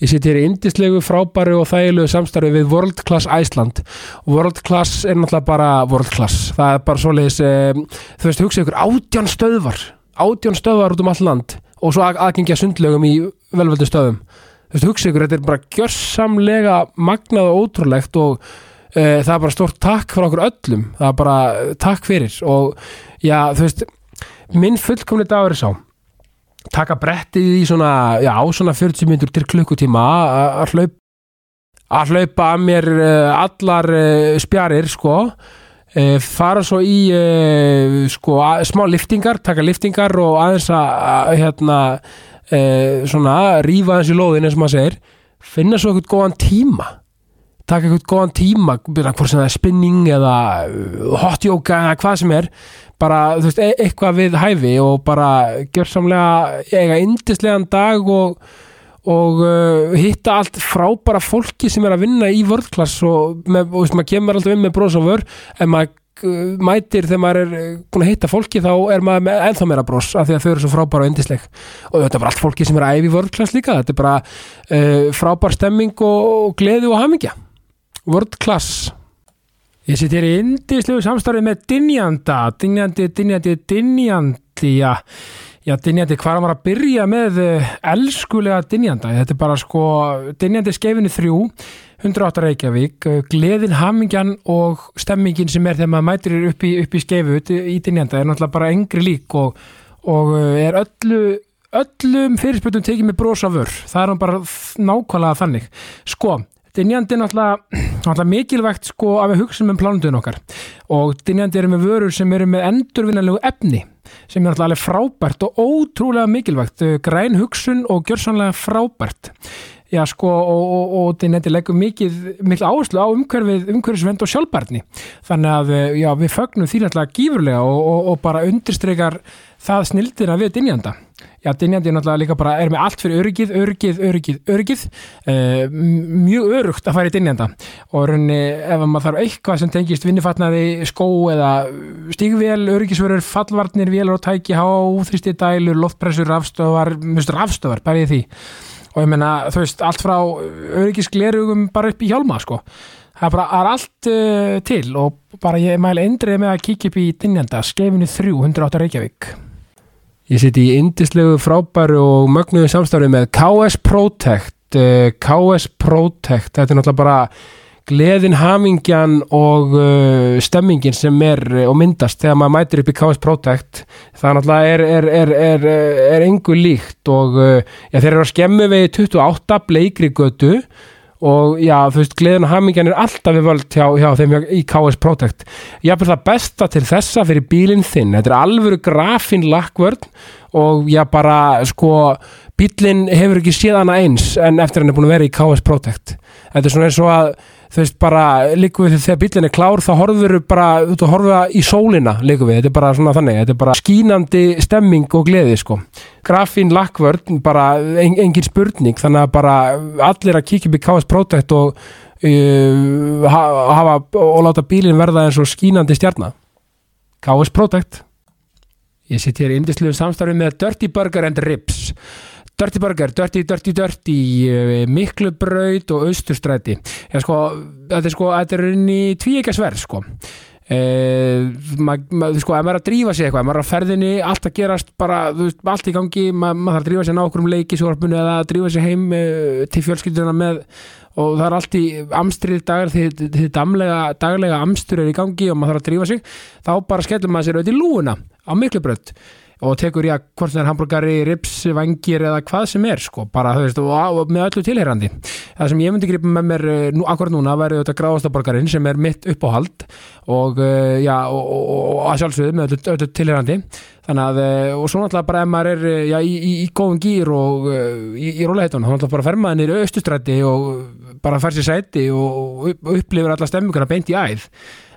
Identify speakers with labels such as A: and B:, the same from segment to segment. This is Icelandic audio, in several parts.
A: Ég seti hér í indislegu, frábæru og þægilegu samstarfi við World Class Iceland. World Class er náttúrulega bara World Class. Það er bara svoleiðis, um, þú veist, hugsa ykkur, átján stöðvar, átján stöðvar út um all land og svo að- aðgengja sundlögum í velvöldu stöðum. Þú veist, hugsa ykkur, þetta er bara gjörsamlega magnað og ótrúlegt og uh, það er bara stórt takk frá okkur öllum. Það er bara eh, takk fyrir og já, þú veist, minn fullkomni dagur er sá taka brettið í svona, já, svona 40 myndur til klukkutíma að- að hlaupa að hlaupa að mér uh, allar uh, spjarir sko uh, fara svo í uh, sko að, smá liftingar, taka liftingar og aðeins að, að hérna uh, svona rífa aðeins í lóðin eins og maður segir, finna svo eitthvað góðan tíma taka eitthvað góðan tíma byrja hvort sem það er spinning eða eh, hot yoga eða hvað sem er bara, þú veist, e eitthvað við hæfi og bara gjörsamlega eiga yndislegan dag og, og uh, hitta allt frábæra fólki sem er að vinna í World Class og, með, og veist, maður kemur alltaf inn með bros og vör en maður eh, mætir þegar maður er eh, búin að hitta fólki þá er maður með ennþá meira bros af því að þau eru svo frábæra og yndisleg og þetta er bara allt fólki sem er að æfi í World Class líka þetta er bara uh, frábær stemming og, og gleði og hamingja World Class
B: Ég sitt hér í indislegu samstarfið með dynjanda, dynjandi, dynjandi, dynjandi, já, já, dynjandi, hvað er maður að byrja með eh, elskulega dynjanda? Þetta er bara sko, dynjandi skeifinu þrjú, 108 Reykjavík, eh, gleðin, hamingjan og stemmingin sem er þegar maður mætir upp í, upp í skeifu ut- í dynjanda er náttúrulega bara engri lík og, og eh, er öllu, öllum fyrirspöldum tekið með brosa vör. Það er hann bara f- nákvæmlega þannig. Sko, Dynjandi er náttúrulega, náttúrulega mikilvægt sko að við hugsa um plánundun okkar og dynjandi eru með vörur sem eru með endurvinnanlegu efni sem er náttúrulega alveg frábært og ótrúlega mikilvægt, Eh, græn hugsun og gjörsanlega frábært. Já sko og, og, og dynjandi leggur mikið, mikil áherslu á umhverfið, umhverfisvend og sjálfbærni. Þannig að eh, já, við fögnum því náttúrulega gífurlega og, og, og bara undirstreikar það snildina við dynjanda. Já, dynjandi er náttúrulega líka bara, er með allt fyrir örgið, örgið, örgið, örgið, uh, mjög örugt að fara í dynjanda og raunni ef maður þarf eitthvað sem tengist vinnifatnaði, skó eða stígvél, örgisvörur, fallvarnir, vélar og tæki, háþristi dælur, loftpressur, rafstöðvar, mjög rafstöðvar, bara í því og ég meina, þú veist, allt frá örgisglerugum bara upp í hjálma, sko. Það er bara það er allt uh, til og bara ég mæli endrið með að kíkja upp í dynjanda, skefinu 308 Reykjavík.
A: Ég siti í indislegu frábæru og mögnuðu samstarfi með KS Protect Eh, KS Protect, þetta er náttúrulega bara gleðin, hamingjan og uh, stemmingin sem er eh, og myndast þegar maður mætir upp í KS Protect það náttúrulega er, er, er, er, eh, er engu líkt og uh, já, þeir eru að skemmu við 28 bleikri götu og já, þú veist, gleðin og hamingjan er alltaf við völd hjá, hjá þeim hjá, í KS Protect jafnvel það besta til þessa fyrir bílinn þinn, þetta er alvöru grafin lakkvörn og já bara sko, bílinn hefur ekki séð hana eins en eftir hann er búin að vera í KS Protect þetta er svona eins og að þú veist bara, líku við þegar bílinn er klár þá horfur bara, þú veist, horfa í sólina líku við, þetta er bara svona þannig þetta er bara skínandi stemming og gleði sko grafín lakkvörn, bara en, engin spurning, þannig að bara allir að kíkja upp í KS Protect og uh, ha- hafa og láta bílinn verða eins og skínandi stjarnar KS Protect Ég sitt hér í indislegu samstarfi með Dirty Burger and Ribs Dirty Burger, Dirty, Dirty, Dirty eh, Miklubraut og Austurstræti Já sko, þetta er sko þetta er inn í tvíekasverð sko Uh, ma, ma, þú sko, ef maður er að drífa sig eitthvað ef maður er að ferðinni, allt að gerast bara, þú veist, allt í gangi, ma, maður þarf að drífa sig ná okkur um leikisvarpinu eða að drífa sig heim uh, til fjölskylduna með og það er allt í amstrið dagar því, því damlega, daglega amstur er í gangi og maður þarf að drífa sig þá bara skellum maður sér auðvitað í lúuna á miklu brönd og tekur ég að hvort það er hambúrgari, rips, vangir eða hvað sem er sko, bara þú veist og, og með öllu tilherrandi það sem ég myndi gripa með mér eh, nú, akkur núna væri auðvitað gráðastaborgarinn sem er mitt uppáhald og, uh, já, og, og, og, og að sjálfsögðu með öllu, öllu tilherrandi þannig að, eh, og svo náttúrulega bara ef maður er eh, já, í, í, í góðum gýr og eh, í, í róleheitun, þá náttúrulega bara fer maður niður austustræti og bara fer sér sæti og upp- upplifir alla stemminguna beint í æð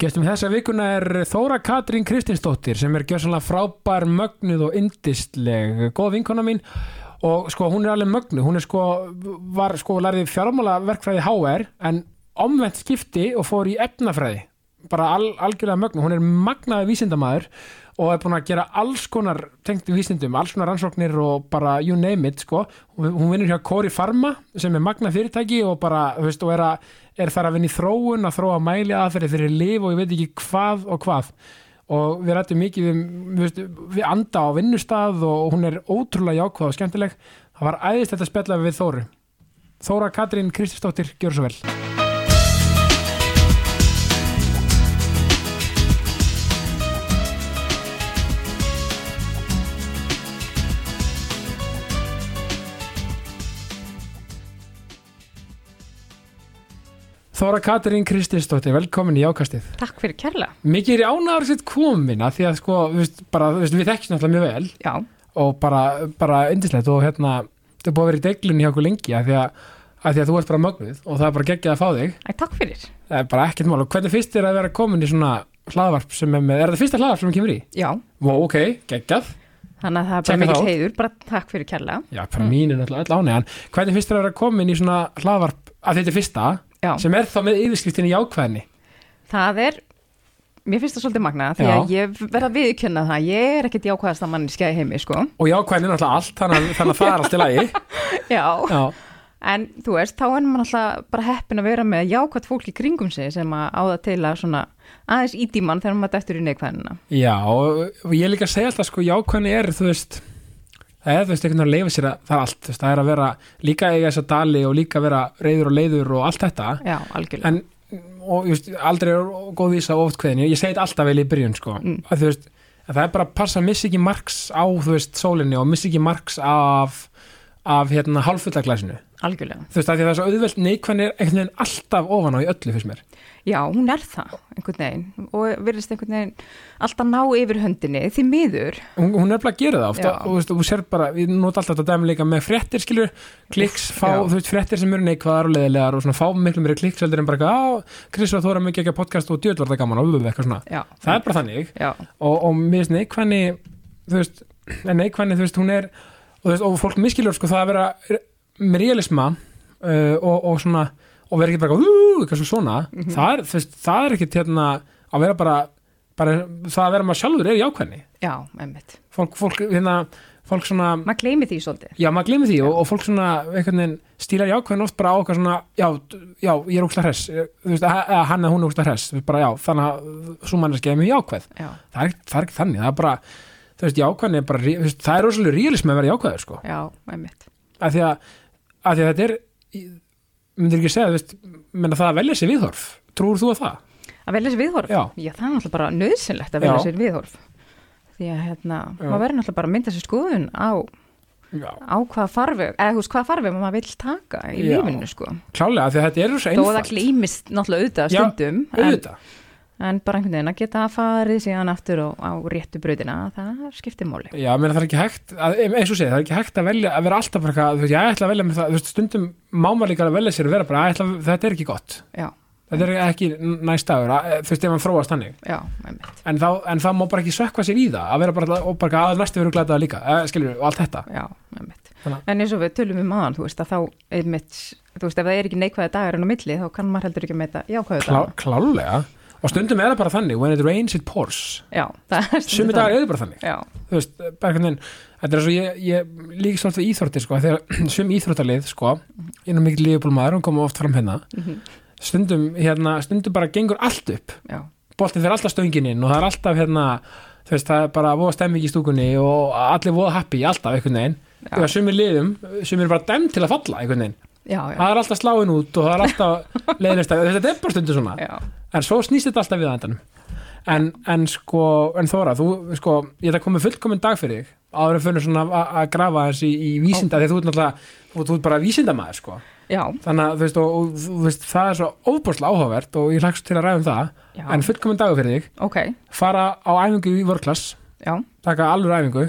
A: Gestum þessa vikuna er Þóra Katrín Kristinsdóttir sem er gjössanlega frábær mögnuð og yndistleg, góð vinkona mín og sko hún er alveg mögnuð hún er sko, var sko lærði fjármálaverkfræði HR en omvend skipti og fór í efnafræði bara al, algjörlega mögnuð, hún er magnaði vísindamaður og er búin að gera alls konar tengt vísindum, alls konar rannsóknir og bara you name it sko hún hún vinnur hjá Kori Pharma sem er magna fyrirtæki og bara, þú veist, og er, að, er þar að vinna í þróun, að þróa mæli aðferði fyrir lif og ég veit ekki hvað og hvað og við rættum mikið um, við, veist, við anda á vinnustað og hún er ótrúlega jákvæð og skemmtileg það var æðist þetta spjalla við Þóru Þóra Katrín Kristisdóttir, gjör svo vel Þóra Katrín Kristinsdóttir, velkomin í ákastið.
C: Takk fyrir kærlega.
A: Mikið er ánaður sitt komin að því að sko, við, veist, bara, við, veist, við þekkjum alltaf mjög vel
C: Já,
A: og bara, bara indislegt og hérna, þetta er búið að vera í deiglunni hjá okkur lengi að því að, að því að þú ert bara mögnuð og það er bara geggjað að fá þig.
C: Æ, takk fyrir.
A: Það er bara ekkert mál og hvernig fyrst er að vera komin í svona hlaðvarp sem er með, er þetta fyrsta hlaðvarp sem kemur í?
C: Já,
A: Vó, ok, geggjað.
C: þannig að það er bara
A: Checka það út.
C: mikill heiður, bara takk fyrir kærlega.
A: Já, bara mín er alltaf ánægjan. Hvernig fyrst er að vera komin í svona hlaðvarp að þetta er fyrsta
C: Já,
A: sem er þá með yfirskriftinni jákvæðinni?
C: það er, mér finnst það svolítið magna því
A: Já.
C: að ég verð að viðkjöna það, ég er ekkert jákvæðast að manni skæði heimi, sko.
A: Og jákvæðin er náttúrulega allt, þannig að, þannig að það er allt í lagi.
C: Já,
A: Já.
C: en þú veist, þá er mann alltaf bara heppin að vera með jákvæðt fólk í kringum sig sem að áða til að svona aðeins íti mann þegar maður dættur í neikvæðina.
A: Já, og og ég er líka að segja alltaf sko, jákvæðni er, þú veist það er, þú veist, einhvern veginn að leifa sér að það er allt þú veist, það er að vera líka eiga þess að dali og líka vera reyður og leiður og allt þetta
C: Já, algjörlega.
A: en, og, just, aldrei er góð vísa og oft kveðinu, ég segi þetta alltaf vel í byrjun sko,
C: Mm.
A: að þú veist, að það er bara að passa að missa ekki marks á, þú veist, sólinni og missa ekki marks af af hérna hálfullaglæsinu,
C: Algjörlega.
A: þú veist, af því að það er svo auðvelt neikvæðin er einhvern veginn alltaf ofan á í öllu fyrst mér,
C: Já, hún er það einhvern veginn og virðist einhvern veginn alltaf ná yfir höndinni því miður.
A: hún, hún er bara að gera það ofta
C: Já.
A: og þú veist, þú sér bara, við notum alltaf þetta dæmi líka með fréttir, skilur, kliks fá,
C: Já.
A: þú veist, fréttir sem eru neikvæðar og leðilegar og svona fá miklu meiri kliks heldur en bara eitthvað, á, Chris og Þóra mikið ekki að podcast og djöðlar það gaman og við eitthvað svona
C: Já,
A: það er bara þannig
C: já.
A: og, og mér finnst neikvæðni þú veist, en neikvæðni, þú veist, hún er og, þú veist, og fólk miskilur sko það að vera með realisma uh, og, og svona, og vera ekki bara eitthvað, "Ú, eitthvað svona svona,
C: Mhm.
A: það er, þú veist, það er ekkit hérna, að vera bara, bara það að vera maður sjálfur er jákvæðni
C: Já, einmitt.
A: fólk, fólk, hérna, fólk svona
C: Maður gleymi því svolítið.
A: já, maður glemir því og, og fólk svona einhvern veginn stílar jákvæðin oft bara á okkar svona já, d- já, ég er ókslega hress eh, þú veist, að, að hann eða hún er ókslega hress Við bara já, þannig að svo manneskja er mjög jákvæð
C: Já,
A: það er, ekkert- það er ekki þannig, það er bara þú veist, jákvæðin er bara, rí- þú veist, það er rosalega realism að vera jákvæður, sko,
C: já, einmitt.
A: af því að af því að þetta er ég- myndir ekki segja, þú veist, menna það að velja sér viðhorf trúur þú að það?
C: Að velja sér viðhorf?
A: Já.
C: það er náttúrulega bara nöðsynlegt að velja
A: Já.
C: sér viðhorf. Því að hérna,
A: Já.
C: maður verður náttúrulega bara að mynda sér skoðun á,
A: Já,
C: á hvað farveg, eða hús hvað farveg maður vill taka í
A: Já.
C: lífinu, sko.
A: klálega, af því að þetta er rosa
C: Þó að það
A: einfalt
C: glýmist náttúrulega auðvitað
A: Já,
C: stundum, en,
A: auðvitað,
C: en bara einhvern veginn að geta að farið síðan aftur og á réttu brautina, það skiptir máli.
A: Já, menn það er ekki hægt, að, eins og segja, það er ekki hægt að velja, að vera alltaf bara eitthvað, þú veist, ég ætla að velja mér það, þú veist, stundum mámar líka að velja sér að vera bara, "Æ, ætla, þetta er ekki gott,
C: Já,
A: þetta er ekki næst dagur, að, þú veist, ef hann þróast hannig,
C: já, einmitt.
A: en, þá, en það má bara ekki sökva sér í það, að vera bara, alltaf- og bara að næstu veru glætað líka, eh, skilur, og allt þetta.
C: Já, einmitt.
A: Þannig
C: En eins og við tölum um aðan, þú veist, að þá, einmitt, þú veist, ef það er ekki neikvæða dagar en á milli, þá kann maður heldur ekki að meita jákvæða dagar.
A: Klá, klálega, og stundum er það bara þannig, when it rains it pours,
C: Já, það er
A: sumi dagar eru bara þannig,
C: Já,
A: þú veist, bara einhvern veginn, þetta er svo, ég, ég líkist oft við íþróttir, sko, þegar sum íþróttalið, sko, ég er nú mikill lífbólmaður, hún kom oft fram hérna,
C: mhm,
A: stundum, hérna, stundum bara gengur allt upp
C: já,
A: boltið fyrir alltaf stöngin inn og það er alltaf hérna, þú veist, það er bara voða stemming í stúkunni og allir voða happy alltaf einhvern veginn
C: já,
A: og sumir liðum, sumir er bara dæmt til að falla einhvern veginn,
C: já, já,
A: það er alltaf sláin út og það er alltaf leiðinist að þetta er bara stundu svona
C: já,
A: en svo snýst þetta alltaf við að endanum en, en sko, en Þóra þú, sko, ég ætla að koma með fullkomin dag fyrir þig áður en fyrir svona að- að grafa þessi í, í vísinda, þegar þú ert náttúrulega þú, þú ert bara vísindamaður, sko
C: já,
A: þannig að þú veist, og, og, þú veist, það er svo óbúrslega áhugavert og ég hlagst til að ræða um það
C: já,
A: en fullkominn dagur fyrir þig,
C: ok,
A: fara á æfingu í vörklass
C: já,
A: taka alveg æfingu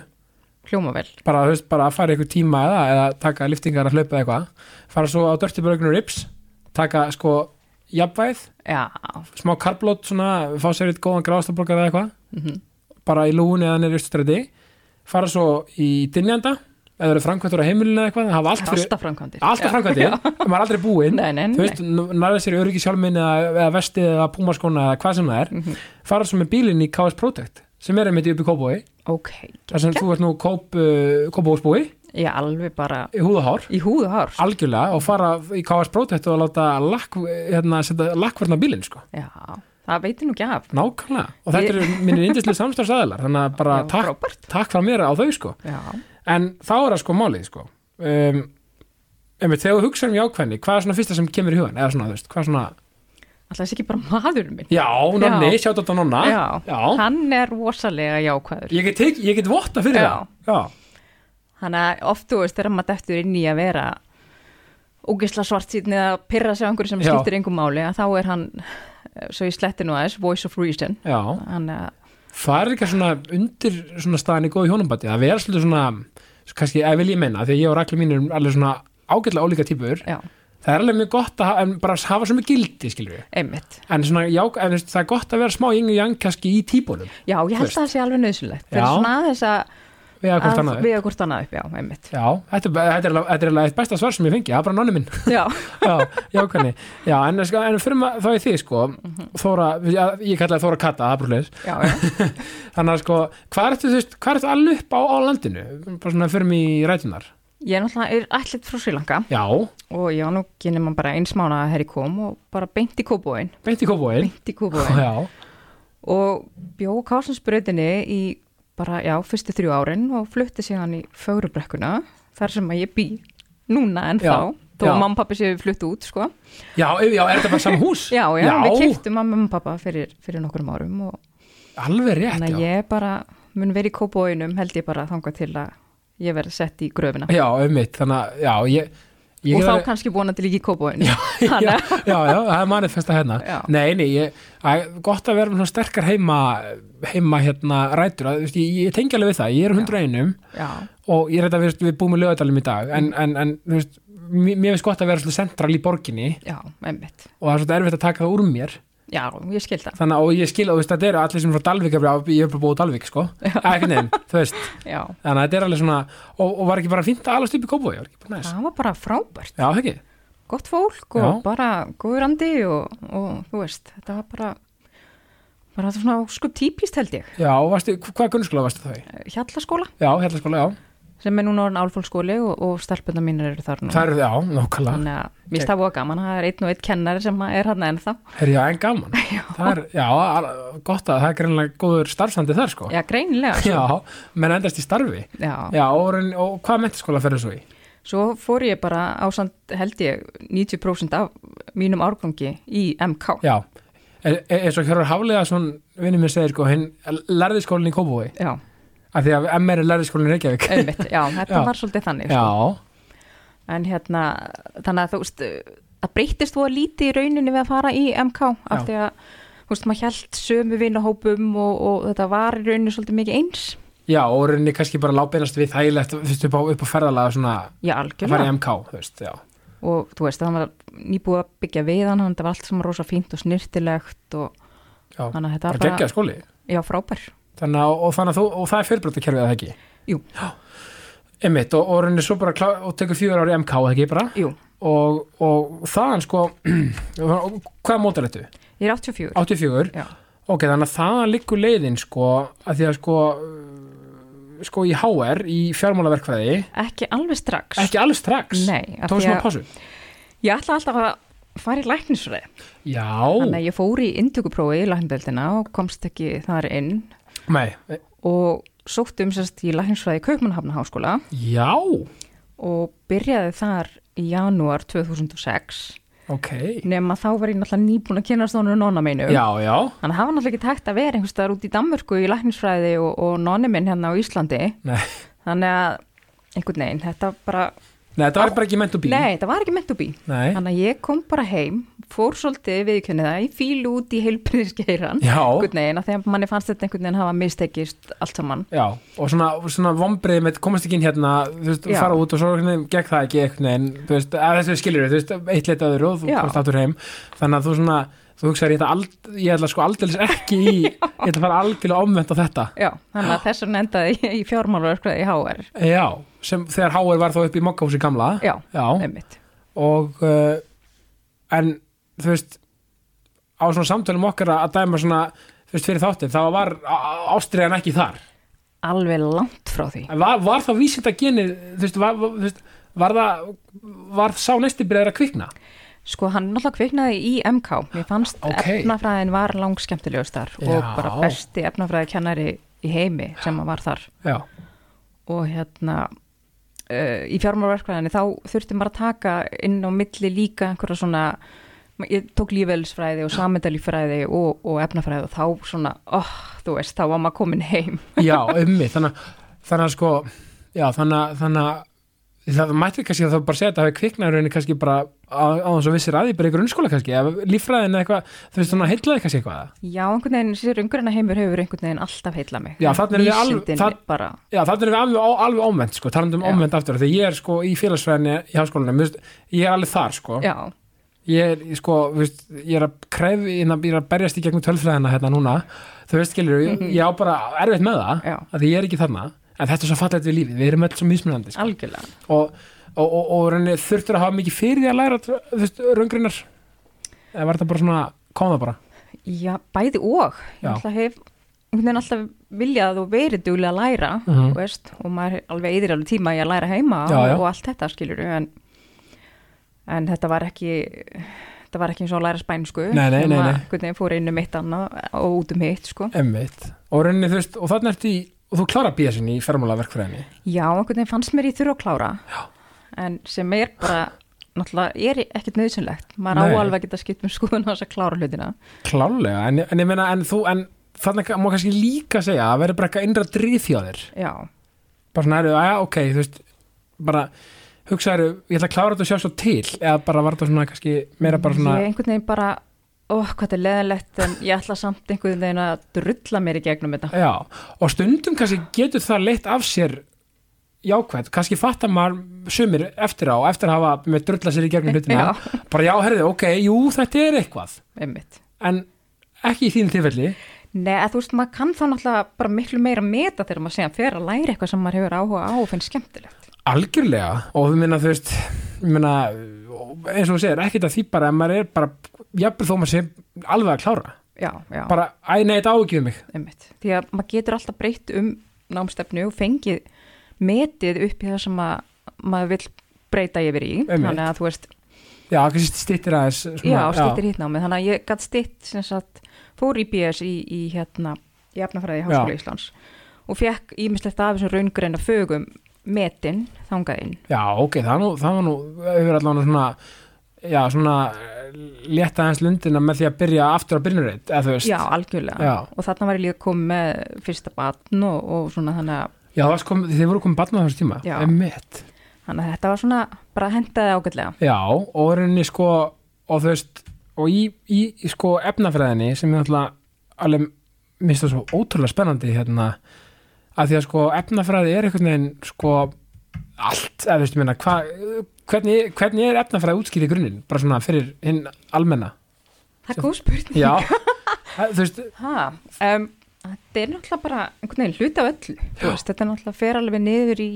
C: hljóma vel
A: bara, þú veist, bara að fara í eitthvað tíma eða, eða taka liftingar að hlaupa eða eitthvað fara svo á dörti brögnur rips taka sko jafnvæð
C: já,
A: smá karblót svona fá sér eitt góðan gráðstaborgar eða eitthvað
C: mhm,
A: bara í lúni eða nýr ystræti fara svo í dynjanda eða eru framkvæmtur á heimilinu eða eitthvað hafa allt
C: það er
A: fyrir,
C: alltaf framkvæmdir
A: alltaf framkvæmtir maður er aldrei búinn
C: Nei, nei,
A: þú
C: nei.
A: veist, nærða sér öryggi sjálfminn eða, eða vestið eða púmaskona eða hvað sem það er
C: Mhm,
A: fara svo með bílinn í KS Protect sem er einmitt í uppi Kóbói
C: ok,
A: þar sem þú ert nú Kóp, uh, Kóbóhúsbúi
C: ég er alveg bara
A: í húðahár
C: í húðu hár
A: algjörlega og fara í KS Protect og láta lakk, hérna, setja lakkverna bílinn sko.
C: já, það veitir nú ekki af
A: nákvæmlega og þetta eru mínir indislega samstarfsæðilar þannig að bara
C: Já,
A: takk,
C: frábært.
A: takk frá mér á þau sko.
C: já,
A: en þá er það sko málið sko. um, um, þegar við hugsa um jákvæðni hvað er svona fyrsta sem kemur í hugan eða svona, þú veist, hvað er svona
C: alltaf þessi ekki bara maðurinn minn
A: já, nonni, sjátt þetta nonna
C: já, hann er rosalega jákvæður
A: Ég, get tek, ég get votta fyrir
C: Já.
A: það já.
C: þannig að oft þú veist þegar maður deftur inn í að vera ógisla svartsýtni eða pyrra sig á einhverju sem
A: Já.
C: skiptir engum máli að þá er hann, eh, svo ég sletti nú aðeins voice of reason
A: Já.
C: hann,
A: það er eitthvað svona undir svona staðan í góðu hjónabandi að vera svolítið svona, kannski, ef vil ég meina því að ég og rakli mín erum alveg svona ágætlega ólíka típur
C: já,
A: það er alveg mjög gott að ha- en bara hafa sem er gildi skilur við
C: einmitt
A: en svona, já, en þú veist, það er gott að vera smá yngu jang kannski í típunum
C: já, ég held
A: Þú
C: að það sé alveg nöðsynlegt fyrir
A: Já.
C: svona aðeins að,
A: við að hvort
C: að
A: annað upp.
C: vega hvort annað upp já, einmitt
A: já, þetta, er bara- þetta er alveg- þetta er alveg eitt besta svar sem ég fengi, það er bara nonni minn
C: já,
A: já, já, hvernig já, en, sko, en fyrir maður, þá er þið sko
C: Mhm.
A: Þóra, já, ég kallaði Þóra Katta, það er brúleis
C: já, já.
A: þannig að sko, hvað ertu, þú veist, hvað ertu alveg upp á, á landinu, bara svona fyrir mig í rætunar
C: ég er náttúrulega er ætlit frá Sri Lanka
A: já,
C: og ég var nú ekki nema bara eins mánu að herri kom og bara beint í kóbóin
A: beint í kópóin
C: beint í kóbóin
A: já,
C: og bjó á Kásansbröðinni í bara, já, fyrstu þrjú árin og flutti síðan í Fögrubrekkuna þar sem að ég bý núna en
A: Já,
C: þá þó
A: já.
C: að mamma og pappi séu flutt út sko.
A: já, ef- já, er þetta bara saman hús
C: já, já, við kiptum að mamma og pappa fyrir, fyrir nokkrum árum og
A: alveg rétt, já
C: þannig að ég bara mun verið í kópóinum held ég bara þangað til að ég verði sett í gröfina
A: já, auðvitað, þannig að, já, ég, ég
C: og
A: hef
C: þá
A: verið-
C: kannski vonandi líka í kópóinu
A: já, já, já, já, það er manifesta hérna
C: Já.
A: Nei, nei, ég, að, gott að vera með svona sterkar heima, heima hérna rætur, að, þú veist, ég, ég tengi alveg við það ég er hundra einum
C: já,
A: og ég er þetta við, við búum með lögadalum í dag en, en, en þú veist, mér, mér finnst gott að vera svona central í borginni
C: já, einmitt
A: og það er svona erfitt að taka það úr mér
C: já, ég skil það
A: þannig að og ég skil, og þú veist, þetta eru allir sem eru frá Dalvík ég er bara búið á Dalvík, sko ekki nefn, þú veist,
C: já.
A: þannig að þetta er alveg svona og, og var ekki bara fínt að alast upp í Kópavogi, var ekki bara næs
C: það var bara frábært
A: Já, ekki,
C: gott fólk og
A: Já.
C: bara góður andi og, og þú veist, þetta var bara bara svona sko típist held ég
A: já, og varstu, hvað grunnskóla varstu þá í?
C: Eh. Hjallaskóla
A: Já, hérna skóla, já,
C: sem er núna orðin álfólksskóli og, og stelpunna mínir eru þar nú
A: það eru, já, nokkala
C: þannig að mér finnst það voða gaman, það er einn og einn kennari sem er hann ennþá
A: Herri, já, en gaman. Það er, já, al- gott að það er greinlega góður starfsandi þar, sko.
C: já, greinilega sko.
A: Já, menn endast í starfi.
C: Já.
A: Já, og, raun- og hvað mentaskóla ferðu svo í?
C: svo fór ég bara ásand held ég 90% af mínum árgangi í MK
A: Já, e- e- eins og Hjörður Hafliða, svona vinnum mér segir, sko, hinn lærði skólinni í Kópavói,
C: já,
A: af því að MR er lærði skólinni í Reykjavík.
C: einmitt, já þetta
A: Já.
C: var svolítið þannig sko.
A: Já,
C: en hérna þannig að þú veist það breytist þú að líti í rauninni við að fara í MK
A: Já.
C: af því að þú veist maður held sömu vinahópum og, og þetta var í rauninni svolítið mikið eins
A: já, og rauninni kannski bara lábeinast við þægilegt, þú veist, upp á, upp á ferðalaga svona, að fara í
C: já algjörlega
A: MK, þú veist, já.
C: og þú veist það var nýbúið að byggja viðan þannig að þetta var allt sem rosa fínt og snirtilegt og
A: já.
C: Þannig að þetta var
A: bara
C: bara-
A: geggja skóli.
C: já frábær
A: Þannig að, og, þannig að þú, og það er fjölbrotakerfið, eða ekki?
C: jú,
A: Einmitt, og, og rauninni svo bara, klá, og tekur fjögur ári MK, eða ekki bara?
C: jú,
A: og, og þaðan sko hvað mótar þetta?
C: ég er 84
A: 84
C: já,
A: ok, þannig að þaðan liggur leiðin sko að því að sko uh, sko í HR, í fjármálaverkfræði
C: ekki alveg strax
A: ekki alveg strax,
C: Nei, af
A: tók
C: því
A: smá
C: að-
A: pásu
C: ég ætla alltaf að fara í læknisfræði þannig
A: já,
C: að ég fór í indtökuprófi í lækndeldina og komst ekki þar inn
A: nei, eh,
C: og sótt um sérst í læknisfræði Kaupmannhafna háskóla
A: já
C: og byrjaði þar í janúar 2006
A: ok,
C: nema þá var ég náttúrulega nýbúin að kynast honum nonna meinu.
A: já, já
C: Þannig að það var náttúrulega ekki tægt að vera einhvers staðar út í Danmörku í læknisfræði og, og nonni minn hérna á Íslandi.
A: nei,
C: Þannig að einhvern veginn, þetta bara
A: Nei, þetta var bara ekki meant to be
C: Nei, það var ekki meant to be.
A: Nei.
C: Þannig að ég kom bara heim, fór svolítið viðkjönnið það, ég fíl út í heilbriðisgeiran,
A: Já.
C: einhvern veginn, af því að manni fannst þetta einhvern veginn hafa mistekist allt saman.
A: Já, og svona, svona vombriði með komast ekki inn hérna, þú veist,
C: Já.
A: fara út og svo einhvern veginn gekk það ekki einhvern veginn, þú veist, að þessu skilur þú veist, eitt leitt öðru og þú
C: Já.
A: komst aftur heim þannig að þú svona, þú hugsaðir ég ætla, ald, ég ætla sko aldeilis ekki í ég ætla að fara algjörlega omvend á þetta
C: Já, þannig að þess vegna endaði ég í fjármálverkvæði í HR.
A: Já, sem þegar Háir var þá upp í Mokkahúsi gamla
C: Já,
A: Já,
C: einmitt.
A: og uh, en þú veist á svona samtölum okkar að dæma svona þú veist, fyrir þáttir, þá var ástriðan ekki þar
C: Alveg langt frá því.
A: En var, var það vísindagenið þú veist, var, var- þú veist, var það var sá næsti byrjar að kvikna
C: Sko, hann náttúrulega kviknaði í MK. Mér fannst
A: Ókei.
C: efnafræðin var langskemmtilegust þar og
A: Já.
C: bara besti efnafræðikennari í heimi sem að var þar.
A: já,
C: og hérna uh, í fjármálverkvæðinni þá þurfti maður að taka inn á milli líka einhverja svona ég tók lífælisfræði og samendalífræði og, og efnafræði og þá svona oh, þú veist, þá var maður komin heim
A: já, ummi þannig, að- þannig að sko já, þannig, að- þannig að það mætti kannski að það bara segja að þetta hafi kviknað í rauninni kannski bara á, á þess að vissir aði bara í grunnskóla kannski, eða líffræðin eða eitthvað þú veist, þannig að heillaði kannski eitthvað eða?
C: já, einhvern veginn, sér umgurina heimur hefur einhvern veginn alltaf heilla mig
A: Já, þarna erum við alveg-
C: Vísindin
A: þar-
C: bara,
A: Já, þannig er við alveg, á- alveg ómvend, sko, talandum um
C: Já.
A: ómvend aftur, þegar ég er sko í félagsfræðinni í háskólanum, þú veist, ég er alveg þar, sko,
C: já,
A: ég er, sko, þú veist, ég er að krefi, ég er að berjast í gegnum tölfræðina hérna núna, þú veist, skilur, ég, ég á bara erfitt með það,
C: Já.
A: að því ég er ekki þarna, en þetta er svo fallegt við lífið, við erum öll svo mismunandi, sko,
C: algjörlega
A: og, og, og, og rauninni þurftur að hafa mikið fyrir því að læra, þú veist, raungrinnar, eða var þetta bara svona, kom það bara,
C: já, bæði og ég
A: Já.
C: alltaf hef einhvern veginn alltaf viljað og verið duglega að læra
A: Mhm.
C: þú veist, og maður alveg eyðir alveg tíma í að læra heima
A: Já, já.
C: og allt þetta skilur en, en þetta var ekki þetta var ekki eins og að læra spænsku
A: Nei, nei, nei, nei.
C: hvernig fór inn um eitt annað og út um hitt sko.
A: emmitt, og rauninni, þú veist, og þannig ertu í, og þú klára bíða sinni í fermálaverkfræðinni,
C: já, einhvern veginn fannst mér í þurfa að klára
A: Já.
C: en sem er bara náttúrulega er ekkert nöðsynlegt maður
A: Nei.
C: á alveg að geta skipt með skoðun á þess að klára hlutina
A: Klálega, en, en ég meina en þú, en þannig má kannski líka segja að verður bara eitthvað innra drýð hjá þér
C: já,
A: bara svona, eru, aðja, ok, þú veist bara, hugsaðu, ég ætla að klára þetta og sjá svo til, eða bara var þetta svona kannski meira bara svona,
C: Ég einhvern veginn bara, ó, hvað þetta er leðilegt en ég ætla samt einhvern veginn að drulla mér í gegnum þetta.
A: já, og stundum kannski getur það leitt af sér jákvæmt, kannski fattar maður sumir eftir á, eftir að hafa með drulla sér í gegnum hlutina, bara já, herðu ok, jú, þetta er eitthvað,
C: Einmitt.
A: en ekki í þínu tilfelli,
C: Nei, að þú veist, maður kann þá náttúrulega bara miklu meira meta þegar maður segja að fer að læra eitthvað sem maður hefur áhuga á og finnst skemmtilegt.
A: Algjörlega og við minna þú veist ég minna, eins og þú segir ekkert að því bara að maður er bara jafnvel þó maður sé alveg að klára
C: Já, já,
A: bara æ nei þetta á ekki við mig
C: einmitt. Því að maður getur alltaf breytt um námstefnu og fengið metið upp í það sem að, maður vill breyta yfir í.
A: Einmitt.
C: Þannig að þú veist,
A: Já, kannski stittir aðeins svona,
C: já, stýttir hittnámið. Þannig að ég gætt stýtt sem sagt, fór í BS í, í hérna, í efnafræði í Háskóla
A: Já.
C: Íslands og fekk ímislegt af þessum raungreina fögum metin þangað inn.
A: já, ok, það, var nú, það var nú yfir allan svona já, svona eh, létta aðeins lundina með því að byrja aftur á byrjunurreitt eða þú veist
C: Já, algjörlega.
A: Já.
C: Og þarna var ég líka komið með fyrsta batn og, og svona þannig að,
A: Já, það var sko, þið voru komið barnað á þessu tíma
C: Já.
A: Einmitt.
C: þannig að þetta var svona bara hendaði ágætlega.
A: Já, og rauninni sko og þú veist, og í, í, í sko efnafræðinni sem ég náttúrulega alveg minnst það svo ótrúlega spennandi hérna, að því að sko efnafræði er einhvern veginn sko allt, eða þú veist, ég meina hva, hvernig, hvernig er efnafræði útskýrið í grunninn, bara svona fyrir hinn almenna
C: Það er góð spurning.
A: Já, þú veist
C: Ha, um, þetta er náttúrulega bara einhvern veginn hluta af öllu. Þú Veist, þetta er náttúrulega fer alveg niður í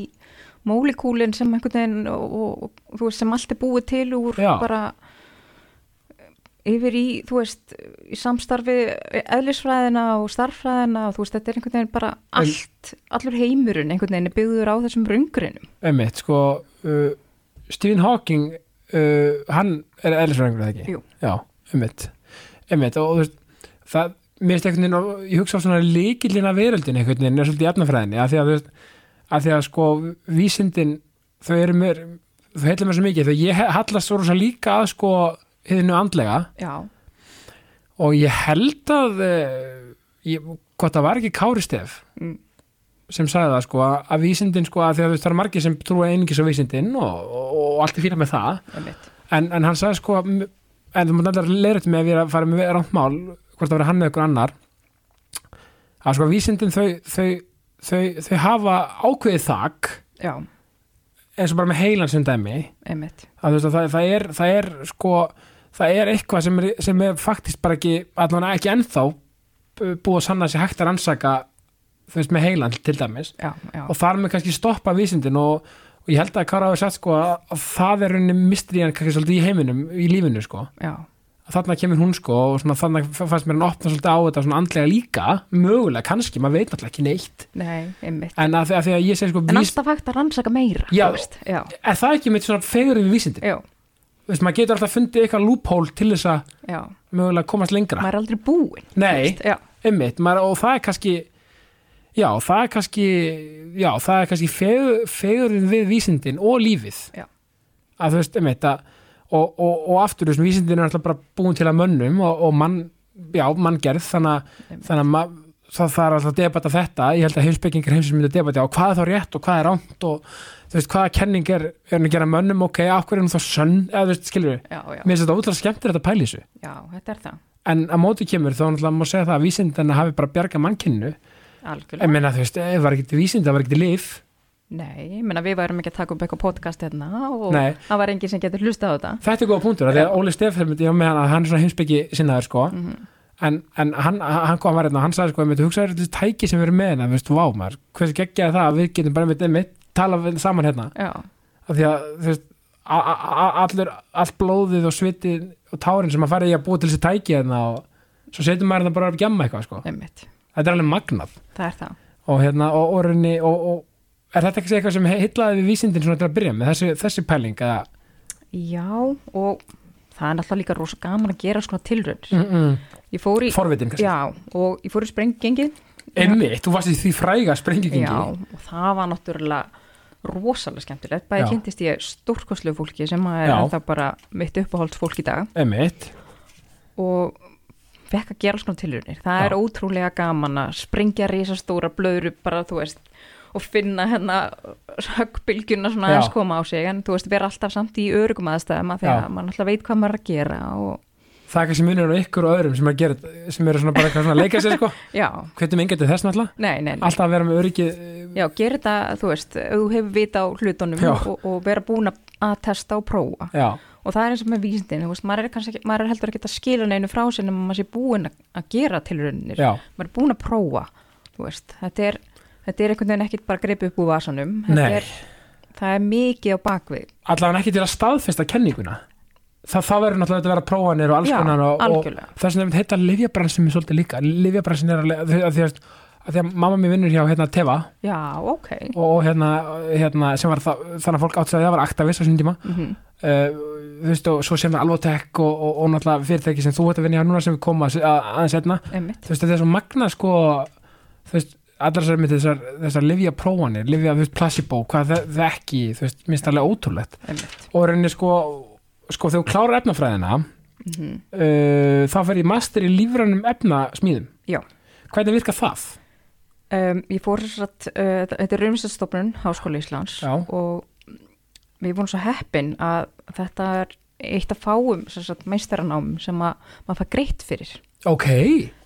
C: mólikúlin sem einhvern veginn og, og, og þú veist sem allt er búið til úr
A: Já.
C: bara eh, yfir í, þú veist, í samstarfi eðlisfræðina og starffræðina og þú veist, þetta er einhvern veginn bara
A: En-
C: allt, allur heimurinn einhvern veginn er byggður á þessum röngrinum.
A: Einmitt, sko uh, Stephen Hawking uh, hann er eðlisfræðingur eða ekki?
C: Jú.
A: Já, einmitt, einmitt og, og þú veist, það, mér veist einhvern veginn og ég hugsa á svona líkilina veröldin einhvern veginn er svolítið í efnafræðinni að því að, þú veist, að því að sko vísindin þau eru mér, þau heilla mér svo mikið þau ég he- hallast svo rosa líka að sko hithinu andlega
C: Já,
A: og ég held að eh, ég, hvort það var ekki Kári Stef
C: Mm.
A: sem sagði það sko að að vísindin sko að því að þú veist það eru margir sem trúa einingis á vísindin og, og, og allt er fína með það
C: einmitt.
A: en, en hann sagði sko m- en þú mátt alltaf leiðrætt með að við erum að fara með rántmál hvort það verið hann eða ykkur annar að sko vísindin þau, þau, þau, þau, hafa ákveðið þak
C: já,
A: eins og bara með heilan sem dæmi
C: einmitt
A: að þú veist að það, það, er, það er sko það er eitthvað sem er, sem er faktist bara ekki, allan ekki ennþá b- búið að sanna sér hægt að rannsaka þú veist með heilan til dæmis
C: já, já,
A: og þar með kannski stoppa vísindin og, og ég held að Kára hafi sagt sko að, að það er rauninni mysterían kannski svolítið í heiminum, í lífinu sko
C: já,
A: að þarna kemur hún sko og svona, þarna f- fannst mér hann opna svolítið á þetta svona andlega líka mögulega kannski, maður veit náttúrulega ekki neitt
C: nei, einmitt
A: en að, því- að því að ég segi sko
C: en
A: vís,
C: alltaf hægt að rannsaka meira
A: Já.
C: þú veist, já,
A: er það ekki mitt svona fegur við vísindin,
C: já,
A: Þú veist, maður getur alltaf fundið eitthvað lúphól til þess að
C: já
A: mögulega komast lengra
C: maður er aldrei búinn þú
A: Nei.
C: veist, já,
A: einmitt, maður, og það er kannski já, það er kannski já, það er kannski fegur, fegurinn við vísindin og lífið
C: Já.
A: að þú veist, einmitt að, og, og, og aftur þessum vísindin er alltaf bara búin til að mönnum og, og mann, já, manngerð þannig, að-
C: Einmitt.
A: þannig að ma- það, það er alltaf að debata þetta, ég held að heimspekingar heimsins myndi að debata á hvað er þá rétt og hvað er rámt og þú veist, hvaða kenning er, er hann að gera mönnum, ok, af hverju er hann þá sönn eða þú veist, skilur við,
C: já, já,
A: mér finnst þetta útlæð skemmtir þetta pæli í þessu
C: já, þetta er það
A: en að móti kemur þá náttúrulega má segja það að vísindana hafi bara bjarga mannkinnu
C: algjörlega,
A: en meina þú veist, ef það var ekkert vísinda, það var ekkert líf
C: nei, ég menna við varum ekki að taka upp eitthvað podcast hérna og
A: Nei.
C: það var enginn sem getur hlustað á þetta
A: þetta er góða punktur, af því að Óli Stefán ég var með hann að hann er svona heimsbyggi sinnaður sko en, en hann, hann kom að vera hérna og hann sagði sko, ég myndi hugsaður þessi tæki sem við erum með hérna, þú veist, vá maður, hversu geggjaði það að við getum bara með mitt, tala við saman hérna
C: já,
A: af því að þú veist a- a- a- allur, allt blóðið og svitið og tárin sem að fara í að búa til þessi tæki hérna og svo setjum maður hérna bara að gjamma eitthvað sko,
C: einmitt
A: þetta er alveg magnað
C: það er það,
A: og hérna, og orðinni og, og er þetta ekki eitthvað sem heitlaði við vísindin svona til að byrja með, þessi, þessi pæling eða,
C: já, og það er náttúrulega líka rosa gaman að gera svona tilrönd
A: mm -mm.
C: ég fór í,
A: forvitin kannski,
C: já, og ég fór í sprenggengið
A: einmitt, þú varst í því fræga sprengingingi,
C: Já, og það var náttúrulega rosalega skemmtilegt,
A: Já.
C: bæði kynntist ég stórkoslegu fólki sem að er
A: Já.
C: alltaf bara mitt uppáhalds fólk í dag
A: einmitt
C: og fekk að gera alls konar tilhörnir það
A: Já.
C: er ótrúlega gaman að springja risastóra blöðru bara þú veist og finna hérna höggbylgjuna svona
A: Já.
C: aðeins koma á sig en þú veist vera alltaf samt í örugum aðstæðum að því
A: Já.
C: að maður alltaf veit hvað maður er að gera og
A: það er kannski munur á ykkur og öðrum sem, er gerð, sem eru svona bara eitthvað svona að leika sér sko
C: já,
A: hvernig með til þess náttúrulega,
C: nei, nei, nei.
A: alltaf að vera með öryggið eh,
C: já, gera þetta, þú veist, ef þú hefur vita á hlutunum
A: Já.
C: og, og vera búin að- að testa og prófa
A: já,
C: og það er eins og með vísindin þú veist, maður, er kannski ekki, maður er heldur ekki að skila neinu frá sér nema maður sé búin að- að gera tilraunir
A: já,
C: maður er búin að prófa þú veist, þetta, er, þetta er einhvern veginn ekkit bara greipið upp úr vasanum Þetta
A: Nei.
C: er, það er mikið á bakvið
A: allavega ekki til að staðfesta kenninguna Það, það verður náttúrulega að vera prófanir og alls
C: Já,
A: konar og, og
C: algjörlega.
A: það sem nefnt heita livjabransin mér svolítið líka, livjabransin er að, að, að, að, að, að því að mamma mér vinnur hjá hérna Teva
C: já, ok
A: og hérna, hérna sem var það, þannig að fólk átti sig að það var aktavis á sinni tíma
C: mm
A: uh, þú veist og svo sem það Alvotech og, og, og náttúrulega fyrirtæki sem þú ert að vinna hjá núna sem við komum að, að, aðeins hérna
C: einmitt,
A: þú veist þetta er svo magna sko þú veist allar sér með þessar, þessar livja prófanir, livja þú veist placebo hvað það, það ekki, þú veist, minnst alveg ótrúlegt
C: einmitt.
A: og rauninni sko sko þegar þú klárar efnafræðina
C: Mm
A: uh, þá fer ég master í lífrænum efnasmíðum
C: Já.
A: hvernig virka það?
C: Um, ég fór þess að uh, þetta er raunvísastofnun Háskóla Íslands
A: Já.
C: og við vorum svo heppin að þetta er eitt af fáum sem sagt, meistaranám sem að maður fær greitt fyrir
A: ok,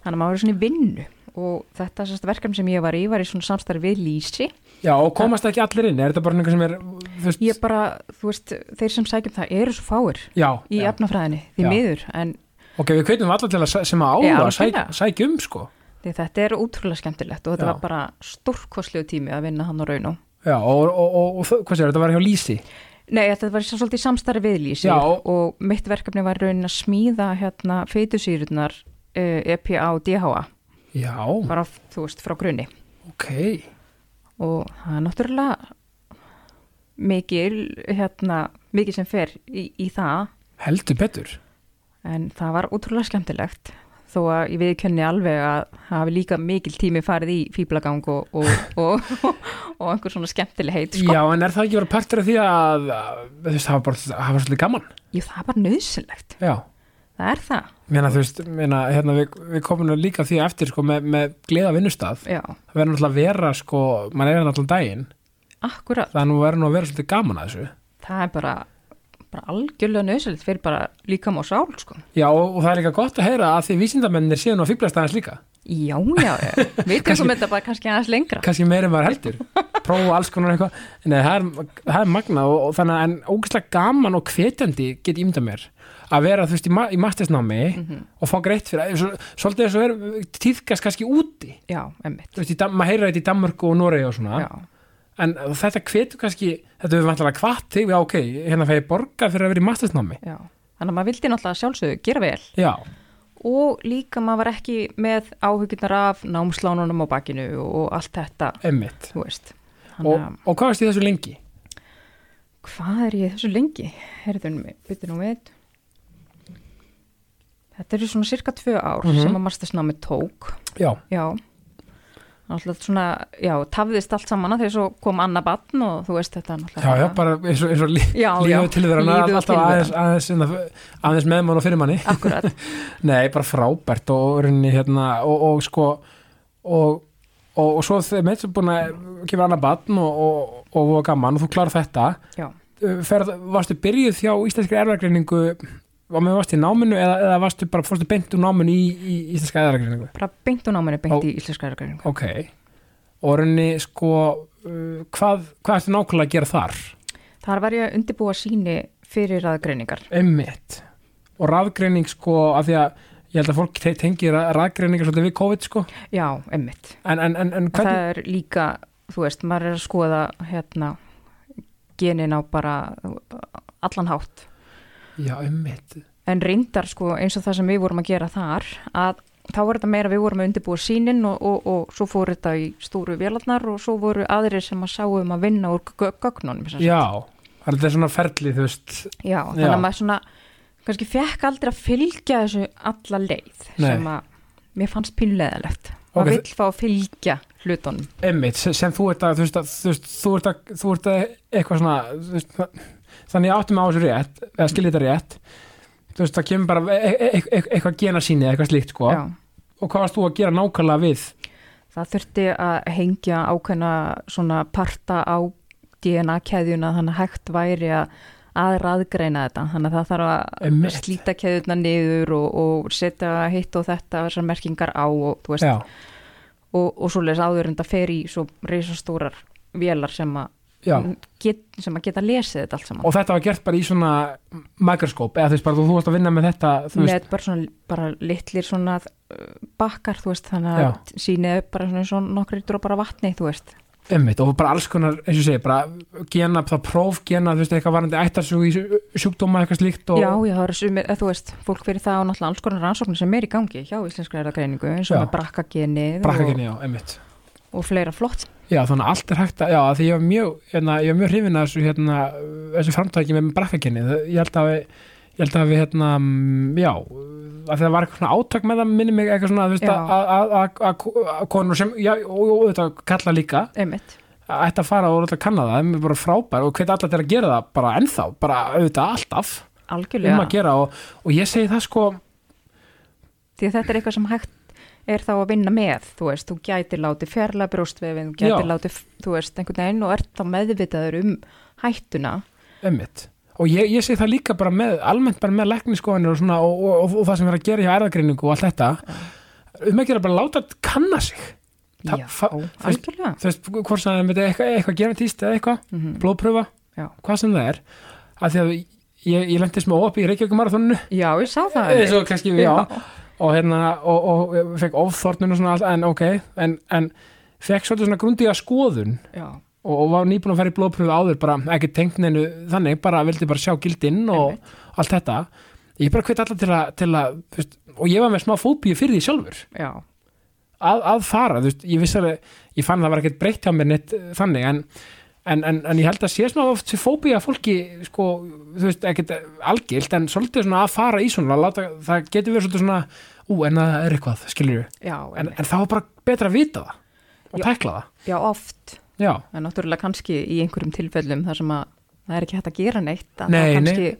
C: þannig að maður var í svona vinnu og þetta sérst, verkefni sem ég var í var í svona samstarfi við Lýsi
A: já og komast ekki allir inn er þetta bara einhver sem er, þú veist
C: ég bara, þú veist, þeir sem sækjum það eru svo fáir
A: já,
C: í
A: já.
C: efnafræðinni, því
A: Já.
C: miður en
A: Ok, við kveitum alla til að sæ- sem að
C: Já,
A: áhuga að sæk,
C: algjörlega.
A: sækja um sko
C: því, þetta er útrúlega skemmtilegt og þetta
A: Já.
C: var bara stórkoslegu tími að vinna hann á raunum
A: Já, og, og, og, og þ- hvað sér, þetta var hjá Lísi
C: Nei, þetta var svo- svolítið samstarfi við Lýsi
A: Já.
C: og mitt verkefni var í raunin að smíða hérna feitusýrunar uh, EPA og DHA
A: Já,
C: bara, þú veist, frá grunni
A: ok
C: og það er náttúrulega mikil, hérna, mikil sem fer í, í það
A: Heldur betur
C: en það var útrúlega skemmtilegt þó að ég viðkenni alveg að það hafi líka mikil tími farið í fýblagang og, og, og, og, og einhver svona skemmtilegheit sko.
A: Já, en er það ekki verið partur af því að að, þú veist, það var bara, það var svolítið gaman
C: Jú, það var nöðsynlegt
A: Já,
C: það er það,
A: Meina, þú veist, meina, hérna, við, við komum nú líka því eftir sko, með, með gleða vinnustaf
C: já,
A: það verður náttúrulega að vera sko, maður er náttúrulega daginn
C: akkurat
A: það er nú verður nú að vera svolítið gaman að þessu
C: það er bara, bara algjörlega nöðsilegt fyrir bara líkam og sál sko.
A: já og, og það er líka gott að heyra að því vísindamennir séu nú að fíblast aðeins líka
C: já, já, já. við tekum þetta bara kannski aðeins lengra
A: kannski meira en maður heldur prófa alls konar eitthvað Nei, það, er, það er magna og, og þannig að en ógeðslega gaman og hvetjandi get ímda mér að vera þú veist í, ma í mastersnámi
C: Mhm.
A: og fá greitt fyrir eh, svo, svolítið þess að vera tíðkast kannski úti
C: já, emmitt
A: þú veist, í Dan- maður heyra þetta í Danmörku og Noregi og svona
C: já,
A: en þetta hvetur kannski þetta við vantilega hvatt þig, já ok hérna fæ ég borgað fyrir að vera í mastersnámi
C: já. þannig að maður vildi náttúrulega að sjálfsögðu gera vel
A: já,
C: og líka maður var ekki með áhugirnar af námslánunum á bakinu og allt þetta,
A: emmitt
C: þú veist
A: og,
C: þannig að
A: og hvað veist ég þessu lengi?
C: hvað er ég þessu lengi? Herðunum, byttu nú við þetta eru svona cirka tvö ár
A: Mhm.
C: sem að mastersnámi tók
A: já,
C: já Náttúrulega svona, já, tafðist allt saman að þegar svo kom Anna Batn og þú veist þetta
A: já, já, bara eins og, eins og lí,
C: já, já,
A: lífið tilverana
C: lífið og
A: alltaf aðeins, aðeins, aðeins, aðeins með mann og fyrir manni
C: Akkurat,
A: Nei, bara frábært og rauninni hérna og, og sko og, og, og svo þegar með sem búin að kemur annað batn og, og, og, og gaman og þú klarar þetta
C: já.
A: Uh, Ferð, varstu byrjuð hjá íslenskri erfagreiningu var með varstu í náminu eða, eða varstu bara fórstu beint úr náminu í, í íslenska erfagreiningu
C: bara beint og náminu beint
A: Ó.
C: í íslenska erfagreiningu.
A: ok og rauninni sko uh, hvað, hvað ertu nákvæmlega að gera þar
C: Þar var ég að undirbúa síni fyrir aðgreiningar.
A: einmitt og rafgreining sko af því að ég held að fólk te- tengi ra- rafgreiningar svolítið við COVID sko
C: Já, emmitt.
A: en, en, en, en hvernig
C: Það er líka, þú veist, maður er að skoða hérna genin á bara allan hátt.
A: já, einmitt
C: En reyndar sko eins og það sem við vorum að gera þar að þá var þetta meira við vorum að undirbúa sínin og, og, og svo fór þetta í stóru vélarnar og svo voru aðrir sem að sáum að vinna úr gö- gögnunum. sem sagt.
A: Já, það er svona ferli, þú veist
C: Já, þannig
A: Já.
C: að maður svona kannski fekk aldrei að fylgja þessu alla leið
A: Nei.
C: sem að mér fannst pínleðilegt
A: Ok,
C: maður vill fá að fylgja hlutunum
A: Emmitt, sem, sem þú ert að þú, veist, að, þú, veist, þú, ert að, þú ert að eitthvað svona þú veist, það- þannig ég átti mig á þessu rétt eða skilja þetta rétt þú veist, það kemur bara e e e e eitthvað genasýni eða eitthvað slíkt, sko
C: Já,
A: og hvað varst þú að gera nákvæmlega við
C: það þurfti að hengja ákveðna svona parta á DNA-keðjuna þannig að hægt væri að aðraðgreina þetta þannig að það þarf að
A: Einmitt.
C: slíta keðjuna niður og, og setja hitt og þetta þessar merkingar á og, þú veist,
A: Já,
C: og, og svo leis áður en það fer í svo reisastórar vélar sem að,
A: já,
C: get, sem að geta lesið þetta allt saman
A: og þetta var gert bara í svona mikroskóp, eða þú veist bara þú, þú varst að vinna með þetta, þú veist,
C: með bara svona bara litlir svona uh, bakkar þú veist þannig að sýnið er bara svona, svona nokkri drópar af vatni þú veist
A: emmitt og bara alls konar, eins og ég segi, bara gena, það próf gena, þú veist, eitthvað varandi ættarsug í sjú- sjúkdóma eitthvað slíkt og
C: já já það eru sumir, eða, þú veist fólk fyrir það og náttúrulega alls konar rannsóknir sem er í gangi hjá íslenska erðagreiningu eins og
A: Já.
C: með brakkagenið
A: brakkaginni, já, emmitt
C: og, og fleira flott
A: Já, þannig að allt er hægt að, já, af því ég var mjög, hérna, ég var mjög hrifin að þessu, hérna, þessu framtæki með brakkagenni, Það- ég held að við, ég held að við, hérna, mm, já, að það var eitthvað svona átök með það, minni mig eitthvað svona, þú veist,
C: Já.
A: að- að- að- að- að að konur sem, já, og og auðvitað kalla líka,
C: einmitt
A: að ætti að fara og auðvitað kanna það, það er bara frábær og hvet allar til að gera það bara ennþá, bara auðvitað alltaf,
C: algjörlega
A: um að gera og, og ég segi það sko,
C: því að þetta er eitthvað sem hægt er þá að vinna með, þú veist, þú gæti látið fjarlæg brjóstvefin, þú gæti
A: Já.
C: látið þú veist, einhvern veginn og ert þá meðvitaður um hættuna,
A: Einmitt. Og ég, ég segi það líka bara með, almennt bara með lækniskoðanir og svona og, og, og, og það sem er að gera hjá erðagreiningu og allt þetta um ekki að bara láta þetta kanna sig Þa-
C: já,
A: fa- veist-
C: algjörlega
A: þú veist, hvort sem það er eitthvað, eitthvað genetist eða eitthvað,
C: mm
A: blóðpröfa
C: Já.
A: hvað sem það er, að því að ég, ég lendi smá opi í Reykjavíkum marathóninu
C: Já, ég sá það
A: eins og kannski við, já og hérna, og, og, og fekk ofþornun og svona allt, en ok, en, en fekk svolítið svona grundiða skoðun
C: já,
A: og, og var nýbúin að fara í blóðpröfu áður bara ekki tengt neinu þannig, bara vildi bara sjá gildinn og allt þetta ég bara hvet alla til að, til að þú veist, og ég var með smá fóbíu fyrir því sjálfur
C: já,
A: að, að fara, þú veist, ég vissi alveg ég fann að það var ekkert breytt hjá mér neitt eh, þannig en, en, en, en ég held að sé smá oft sem fóbíu að fólki, sko þú veist, ekkert eh, algilt, en svolítið svona að fara í svona, að láta, það getur verið svolítið svona ú, en það er eitthvað, skilur við
C: já,
A: en,
C: en,
A: en það var bara betra að vita það og
C: Já.
A: tekla það,
C: já, oft
A: já
C: en náttúrulega kannski í einhverjum tilfellum þar sem að það er ekki hægt að gera neitt að
A: Nei,
C: það kannski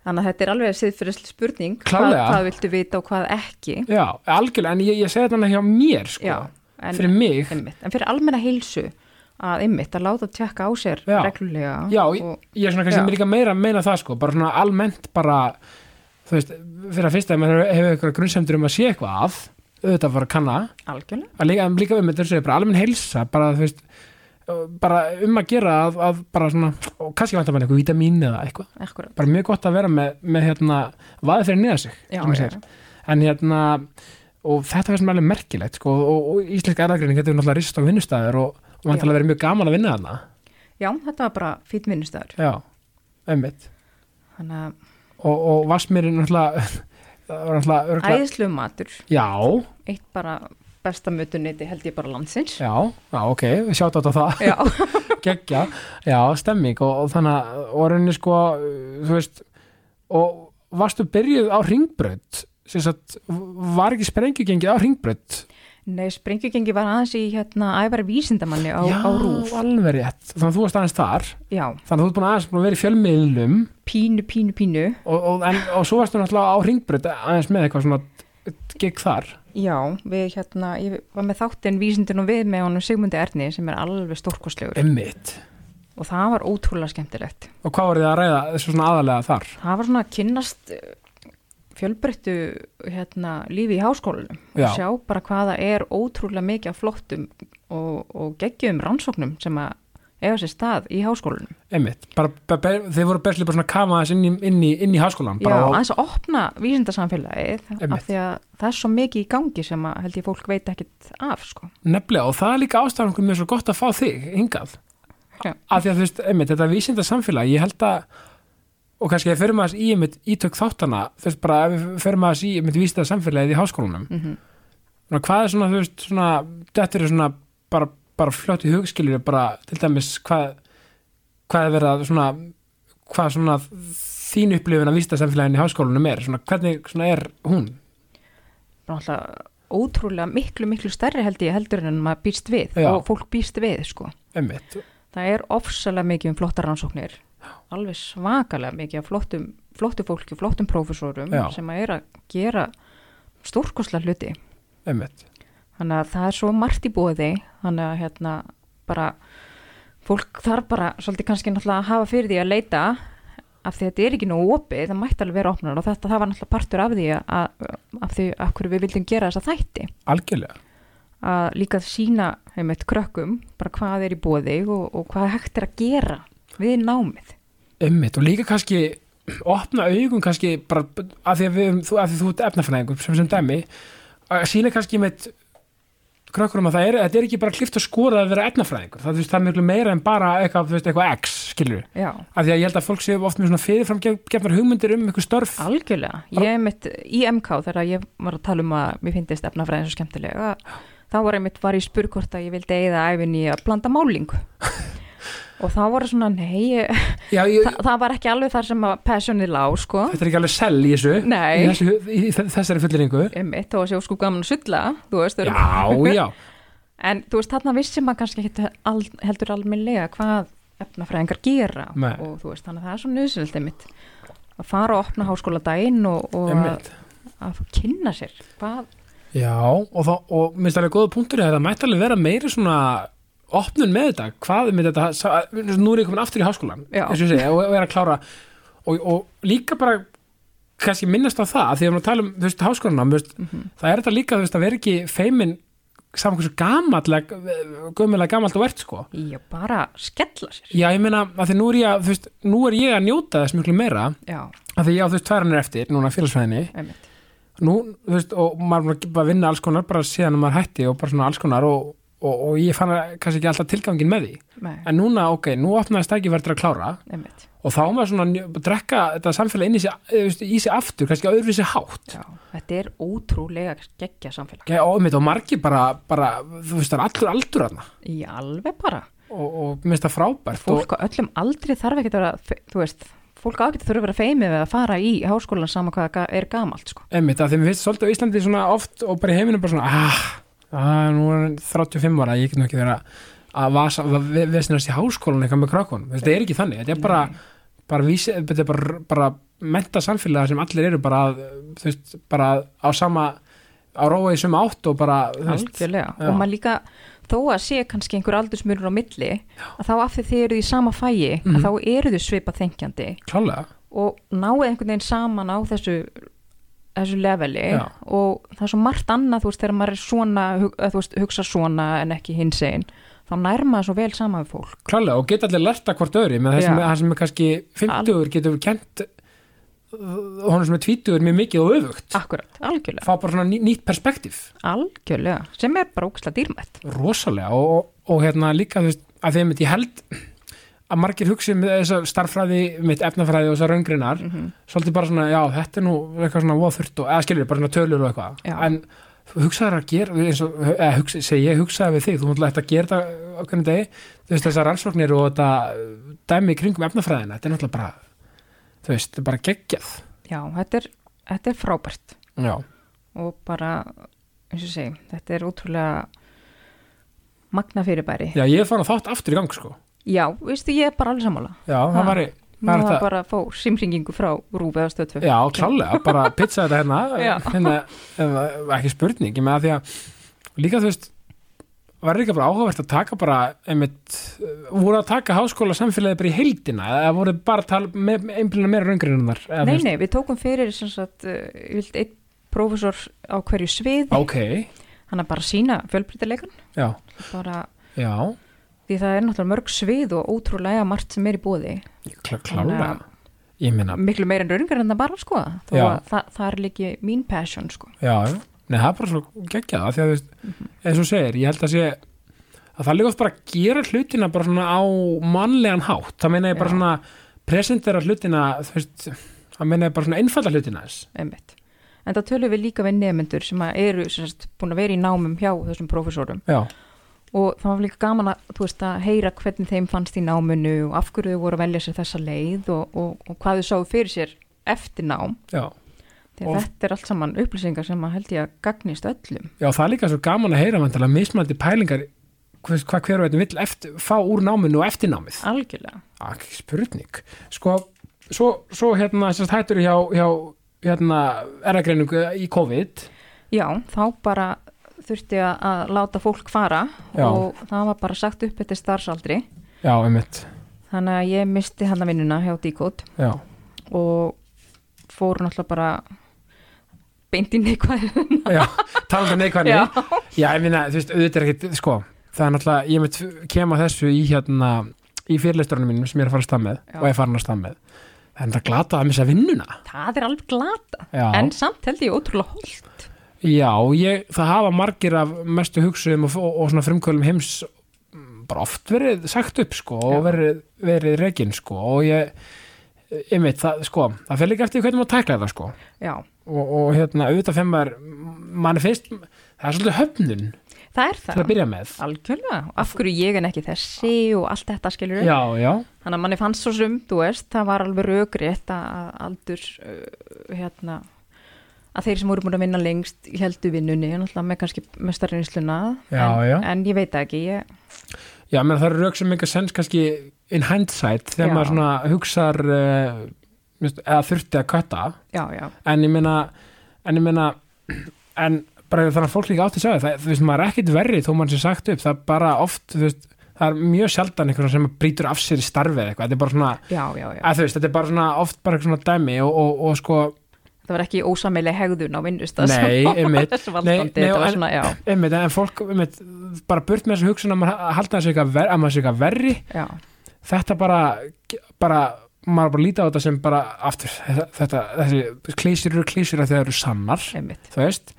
C: Þannig að þetta er alveg siðfyrir spurning
A: Klárlega.
C: hvað, hvað viltu vita og hvað ekki
A: já, algjörlega, en ég, ég segi þetta hjá mér sko,
C: Já, en,
A: fyrir mig
C: einmitt, en fyrir almenna heilsu að einmitt að láta tjekka á sér
A: Já.
C: reglulega
A: Já, ég,
C: og,
A: ég er svona kannski
C: Já.
A: mér líka meira að meina það sko, bara svona almennt bara, þú veist, fyrir að fyrsta ef maður hefur hefur eitthvað grunnsemdur um að sé eitthvað að auðvitað bara að kanna,
C: algjörlega
A: að líka, en líka við með þessu segja, bara almenn heilsa, bara þú veist bara um að gera að, að bara svona, og kannski vantar maður eitthvað vítamín eða eitthvað,
C: akkurat.
A: bara mjög gott að vera með, með hérna, vaðið fyrir niður sig
C: Já,
A: sem ég
C: já,
A: segir. en hérna og þetta finnst mér alveg merkilegt sko, og, og íslenska erðagreining getur náttúrulega rist á vinnustæður og, og vantilega verið mjög gaman að vinna þarna
C: já, þetta var bara fýtt minnustæður
A: já, einmitt
C: þannig að
A: og, og vassmýrin náttúrulega það var náttúrulega örgulega
C: æðislu matur
A: já,
C: eitt bara besta mötuniti held ég bara landsins
A: já, já, ok, við sjátt á það
C: já,
A: geggja, já, stemming og, og þannig, að- og rauninni sko uh, þú veist, og varstu byrjuð á ringbraut sem sagt, var ekki sprengjugengið á ringbraut
C: nei, sprengjugengi var aðeins í hérna ævar vísindamanni á,
A: já,
C: á rúf
A: alveg rétt, þannig að þú varst aðeins þar
C: já,
A: þannig að þú ert búin aðeins búin að vera í fjölmiðlum
C: pínu, pínu, pínu
A: og, og, en, og svo varstu náttúrulega á ringbraut aðeins með eitthvað svona gegg þar
C: já, við hérna, ég var með þáttinn vísindin og við með honum Sigmundi Erni sem er alveg stórkostlegur
A: emmitt,
C: og það var ótrúlega skemmtilegt
A: og hvað voruð þið að ræða þessu svona aðalega þar
C: það var svona að kynnast eh, fjölbreyttu hérna, lífi í háskólanum
A: Já.
C: og sjá bara hvaða er ótrúlega mikið af flottum og, og geggjum rannsóknum sem að eiga sér stað í háskólanum.
A: einmitt, bara, bara, bara þeir voru bestlega bara svona að kama þess inn í, inn í, inn í háskólan
C: Já,
A: bara og-
C: aðeins að opna vísindarsamfélagið
A: Einmitt.
C: af því að það er svo mikið í gangi sem að held ég fólk veit ekkit af sko.
A: nefnilega og það er líka ástæðan mjög svo gott að fá þig hingað
C: Já.
A: af því að þú veist, einmitt, þetta vísinda samfélag ég held að, og kannski að fyrir maður í einmitt ítök þáttana þú veist bara, ef við fyrir maður í einmitt vísinda samfélagið í háskólanum mm
C: Mhm.
A: hvað er svona, þú veist, svona þetta eru svona, bara, bara fljótt í hugskilur bara, til dæmis, hvað hvað er verið að svona hvað svona þín upplifun af vísinda samfélaginu í háskólanum er, svona hvernig svona er hún?
C: Bara náttúrulega ótrúlega miklu, miklu stærri held ég heldur en maður býst við
A: Já.
C: og fólk býst við sko.
A: Einmitt.
C: Það er ofsalega mikið um flottar rannsóknir, alveg svakalega mikið af flottum, flottu fólki, flottum prófessorum
A: Já.
C: sem að er að gera stórkoslega hluti.
A: Einmitt.
C: Þannig að það er svo margt í bóði, þannig að hérna bara fólk þarf bara svolítið kannski náttúrulega að hafa fyrir því að leita af því að þetta er ekki nógu opið, það mætti alveg vera opnar og þetta það var náttúrulega partur af því að, af því af hverju við vildum gera þessa þætti
A: Algjörlega.
C: að líka sína einmitt krökkum bara hvað er í bóði og, og hvað hægt er að gera við námið.
A: Einmitt. Og líka kannski opna augum kannski bara af því að, við, þú, af því þú ert efnafræðingum sem sem dæmi að sína kannski með krökkurum að það er, þetta er ekki bara klift og skora að vera efnafræðingur. Það, þú veist, það er miklu meira en bara eitthvað, þú veist, eitthvað X, skilur við.
C: Já,
A: Af því að ég held að fólk séu oft með svona fyrirframgefnar hugmyndir um eitthvað störf.
C: algjörlega. Ég einmitt í MK þegar ég var að tala um að mér finnist efnafræðin svo skemmtilega þá var einmitt var ég spurð hvort að ég vildi eigða æfin í að blanda málingu og þá var svona nei, ég,
A: Já, ég,
C: það, það var ekki alveg þar sem að passionið lá sko,
A: þetta er ekki alveg sell í þessu.
C: Nei.
A: Í, þessu, í þessari fulliringu.
C: einmitt þó að séu sko gaman að sulla, þú veist,
A: Já,
C: erum-
A: já.
C: En þú veist, þarna vissi maður kannski ekki al, heldur almennilega hvað efnafræðingar gera
A: Nei.
C: og þú veist, þannig að það er svo nöðsynlegt einmitt að fara og opna háskóla daginn og, og að,
A: Einmitt.
C: að kynna sér hvað,
A: Já, og, þá, og minnst alveg góða punktur er að það mætti alveg vera meiri svona opnun með þetta, hvað er með þetta sá- nú er ég komin aftur í háskólan
C: Já.
A: eins og, ég segi, og, og er að klára og, og líka bara kannski minnast á það, af því að við erum að tala um þú veist, háskólanum, þú veist, það er þetta líka þú veist, að vera ekki feimin saman hversu gamall gömulega gamalt og verðt sko
C: ég bara skella sér.
A: Já, ég meina, að því nú er ég, að, þú veist, nú er ég að njóta þess miklu meira,
C: Já,
A: af því ég á þú veist tværanir eftir, núna félagsfæðinni
C: einmitt.
A: nú, þú veist, og maður er bara að vinna alls konar bara síðan að maður hætti og bara svona alls konar og, og, og ég fann að- kannski ekki alltaf tilgangin með því
C: Nei,
A: en núna, ok, nú opnaðist ekki verður að klára
C: einmitt.
A: og þá á maður svona njö- að drekka þetta samfélag inn í sig, eh, þú veist, í sig aftur kannski öðru sér hátt
C: Já, þetta er ótrúlega geggja samfélag.
A: okay, og, einmitt, og margir bara, bara, þú veist, það er allur aldur aðna
C: Í alveg bara.
A: og, og minnst það frábært og,
C: Fólk á öllum aldrei þarf ekki að vera, fe- þú veist, fólk á ekki að þurfa að vera feimið við að fara í háskólan sama hvað ga- er gamalt, sko.
A: einmitt, að þeim finnst svolítið á Íslandi svona oft og bara í heiminum bara svona ah, ah, nú er hann 35 ára, ég get nú ekki verið að- að vasa,
C: Mm.
A: vestinast í háskólan eitthvað með krakkunum, þetta er ekki þannig, þetta er bara bara vísi, þetta er bara, bara menta samfélaga sem allir eru bara, að, þú veist, bara á sama á róa í sömu átt og bara þú veist,
C: algjörlega
A: já.
C: og maður líka þó að sé kannski einhver aldursmurur á milli að þá af því þið eru í sama fæi
A: Mhm.
C: að þá eru þið svipað þengjandi
A: klálega
C: og náið einhvern veginn saman á þessu þessu leveli
A: Já.
C: og það er svo margt annað þú veist þegar maður er svona hu- eða, þú veist, hugsa svona en ekki hins einn þá nærma það svo vel saman við fólk
A: klálega og geta allir lært að hvort öðru með það sem,
C: Já.
A: það sem er kannski 50 getur kent honum sem er 20 mjög mikið og öfugt
C: akkurat, algjörlega,
A: fá bara svona ný, nýtt perspektíf
C: algjörlega sem er bara óksla dýrmætt
A: rosalega og, og, og hérna líka þú veist, að þeim ég held að margir hugsi með þess að starffræði mitt efnafræði og þessar raungrinar svolítið bara svona, já, þetta er nú eitthvað svona voðfurt og, eða skilur, bara svona tölur og eitthvað
C: Já.
A: en þú hugsaðar að gera eins og, eða hugsa, segi ég hugsaði við þig þú mútla eftir að gera þetta á hvernig degi þú veist, þessar rannsóknir og þetta dæmi í kringum efnafræðina, þetta er náttúrulega bara þú veist, þetta er bara geggjað
C: já, þetta er, þetta er frábært
A: já,
C: og bara, eins og ég segi þetta er útrúlega magna fyrirbæri
A: já ég er farin að þátt aftur í gang sko,
C: já, veistu, ég er bara alveg sammála
A: já, það
C: Ha.
A: væri
C: nú
A: væri
C: er
A: þetta-
C: það bara að fá símringingu frá rúfið eða stöðtöf
A: Já, klálega, bara pizza þetta
C: Já.
A: hérna, hérna eh, ekki spurning, ég með að því að líka þú veist, var líka bara áhugavert að taka bara, einmitt eh, voru að taka háskóla samfélagi bara í heildina eða voru bara að tala með einblina meira raungrinnar
C: Nei, nei, við tókum fyrir sem sagt, uh, ég vilt einn prófessor á hverju svið,
A: Ok,
C: hann að bara sína fjölbreytileikan,
A: já,
C: bara
A: já
C: því það er náttúrulega mörg svið og ótrúlega margt sem er í bóði,
A: klá, klálega,
C: Þannig
A: ég meina
C: miklu meira en raungar en það bara sko, þó
A: Já.
C: að það, það er líki mín passion sko.
A: Já, já. nei, það er bara svo geggjað af því að þú veist, eins og þú segir, ég held að sé að það er líka oft bara að gera hlutina bara svona á mannlegan hátt það meina ég bara
C: Já.
A: svona presentera hlutina, þú veist það meina ég bara svona einfalla hlutina þess
C: einmitt. En það tölum við líka við nefnendur sem að eru sem sagt, búin að vera í námum hjá þessum prófessorum
A: Já,
C: og það var líka gaman að, þú veist, að heyra hvernig þeim fannst í náminu og af hverju þau voru að velja sér þessa leið og, og, og hvað þau sáu fyrir sér eftir nám
A: já,
C: Þegar
A: Og-
C: þetta er allt saman upplýsingar sem að held ég að gagnist öllum.
A: já, það er líka svo gaman að heyra vantilega mismandi pælingar hvað, hvað hver og einn vill eftir, fá úr náminu og eftir námið
C: Algjörlega.
A: Ekki spurning Sko, svo, svo hérna, sérst hættur hjá, hjá hérna, erðagreiningu í COVID
C: Já, þá bara þurfti að, að láta fólk fara
A: Já.
C: og það var bara sagt upp eftir starfsaldri.
A: Já, einmitt,
C: Þannig að ég misti hann að vinnuna hjá Díkot
A: já
C: og fór náttúrulega bara beint í neikvæðin.
A: Já, talandi um neikvæðni
C: Já.
A: Já, ég minna, þú veist, auðvitað er ekkit, sko það er náttúrulega, ég mynd kem að þessu í hérna, í fyrirleisturunum mínum sem ég er að fara að stað með
C: Já.
A: og ég er farin að stað með það er þetta glatað að missa vinnuna
C: það er alveg glata.
A: Já,
C: En samt held ég ótrúlega holdt.
A: já ég, það hafa margir af mestu hugsuðum og, og, og svona frumkvölum heims mm, bara oft verið sagt upp, sko og
C: Já.
A: verið, verið rekin, sko og ég, ég mynd, það, sko það fer líka eftir því hvernig maður tækla það, sko
C: Já,
A: og, og hérna, auðvitað fyrir maður mann finnst, það er svolítið höfnun
C: það er
A: til að
C: það.
A: byrja með
C: Algjörlega. Af hverju ég en ekki þessi og allt þetta skilur
A: Já, já
C: Þannig að manni fannst svo sum, þú veist, það var alveg raugrétt að aldur, uh, hérna, að þeir sem voru búin að vinna lengst heldu vinnunni, náttúrulega með kannski mestarreynsluna,
A: Já,
C: en,
A: já.
C: en ég veit það ekki, ég,
A: Já, menn það eru rauk sem eitthvað sens kannski in hindsight þegar
C: Já.
A: maður svona hugsar uh, eða þurfti að kvæta
C: já, já,
A: en ég meina en ég meina en bara þannig að fólk líka átti að segja það þú veist, maður er ekkit verri þó maður sé sagt upp það er bara oft, þú veist, það er mjög sjaldan einhverjum sem brýtur af sér í starfið eitthvað, þetta er bara svona,
C: já, já, já.
A: að þú veist, þetta er bara svona oft bara eitthvað svona dæmi og, og, og sko
C: Það var ekki ósamileg hegðun á vinnustast.
A: Nei, einmitt.
C: Þessu
A: Nei,
C: valdandi,
A: nei,
C: þetta
A: en-
C: var svona, já,
A: einmitt, en fólk, einmitt, bara burt með þessu hugsun að maður halda þessu eitthvað verri, að maður sé eitthvað verri
C: já,
A: þetta bara, bara maður bara líta á þetta sem bara aftur, þetta, þetta þessi klísir eru klísir að þeir eru sannar
C: einmitt,
A: þú veist,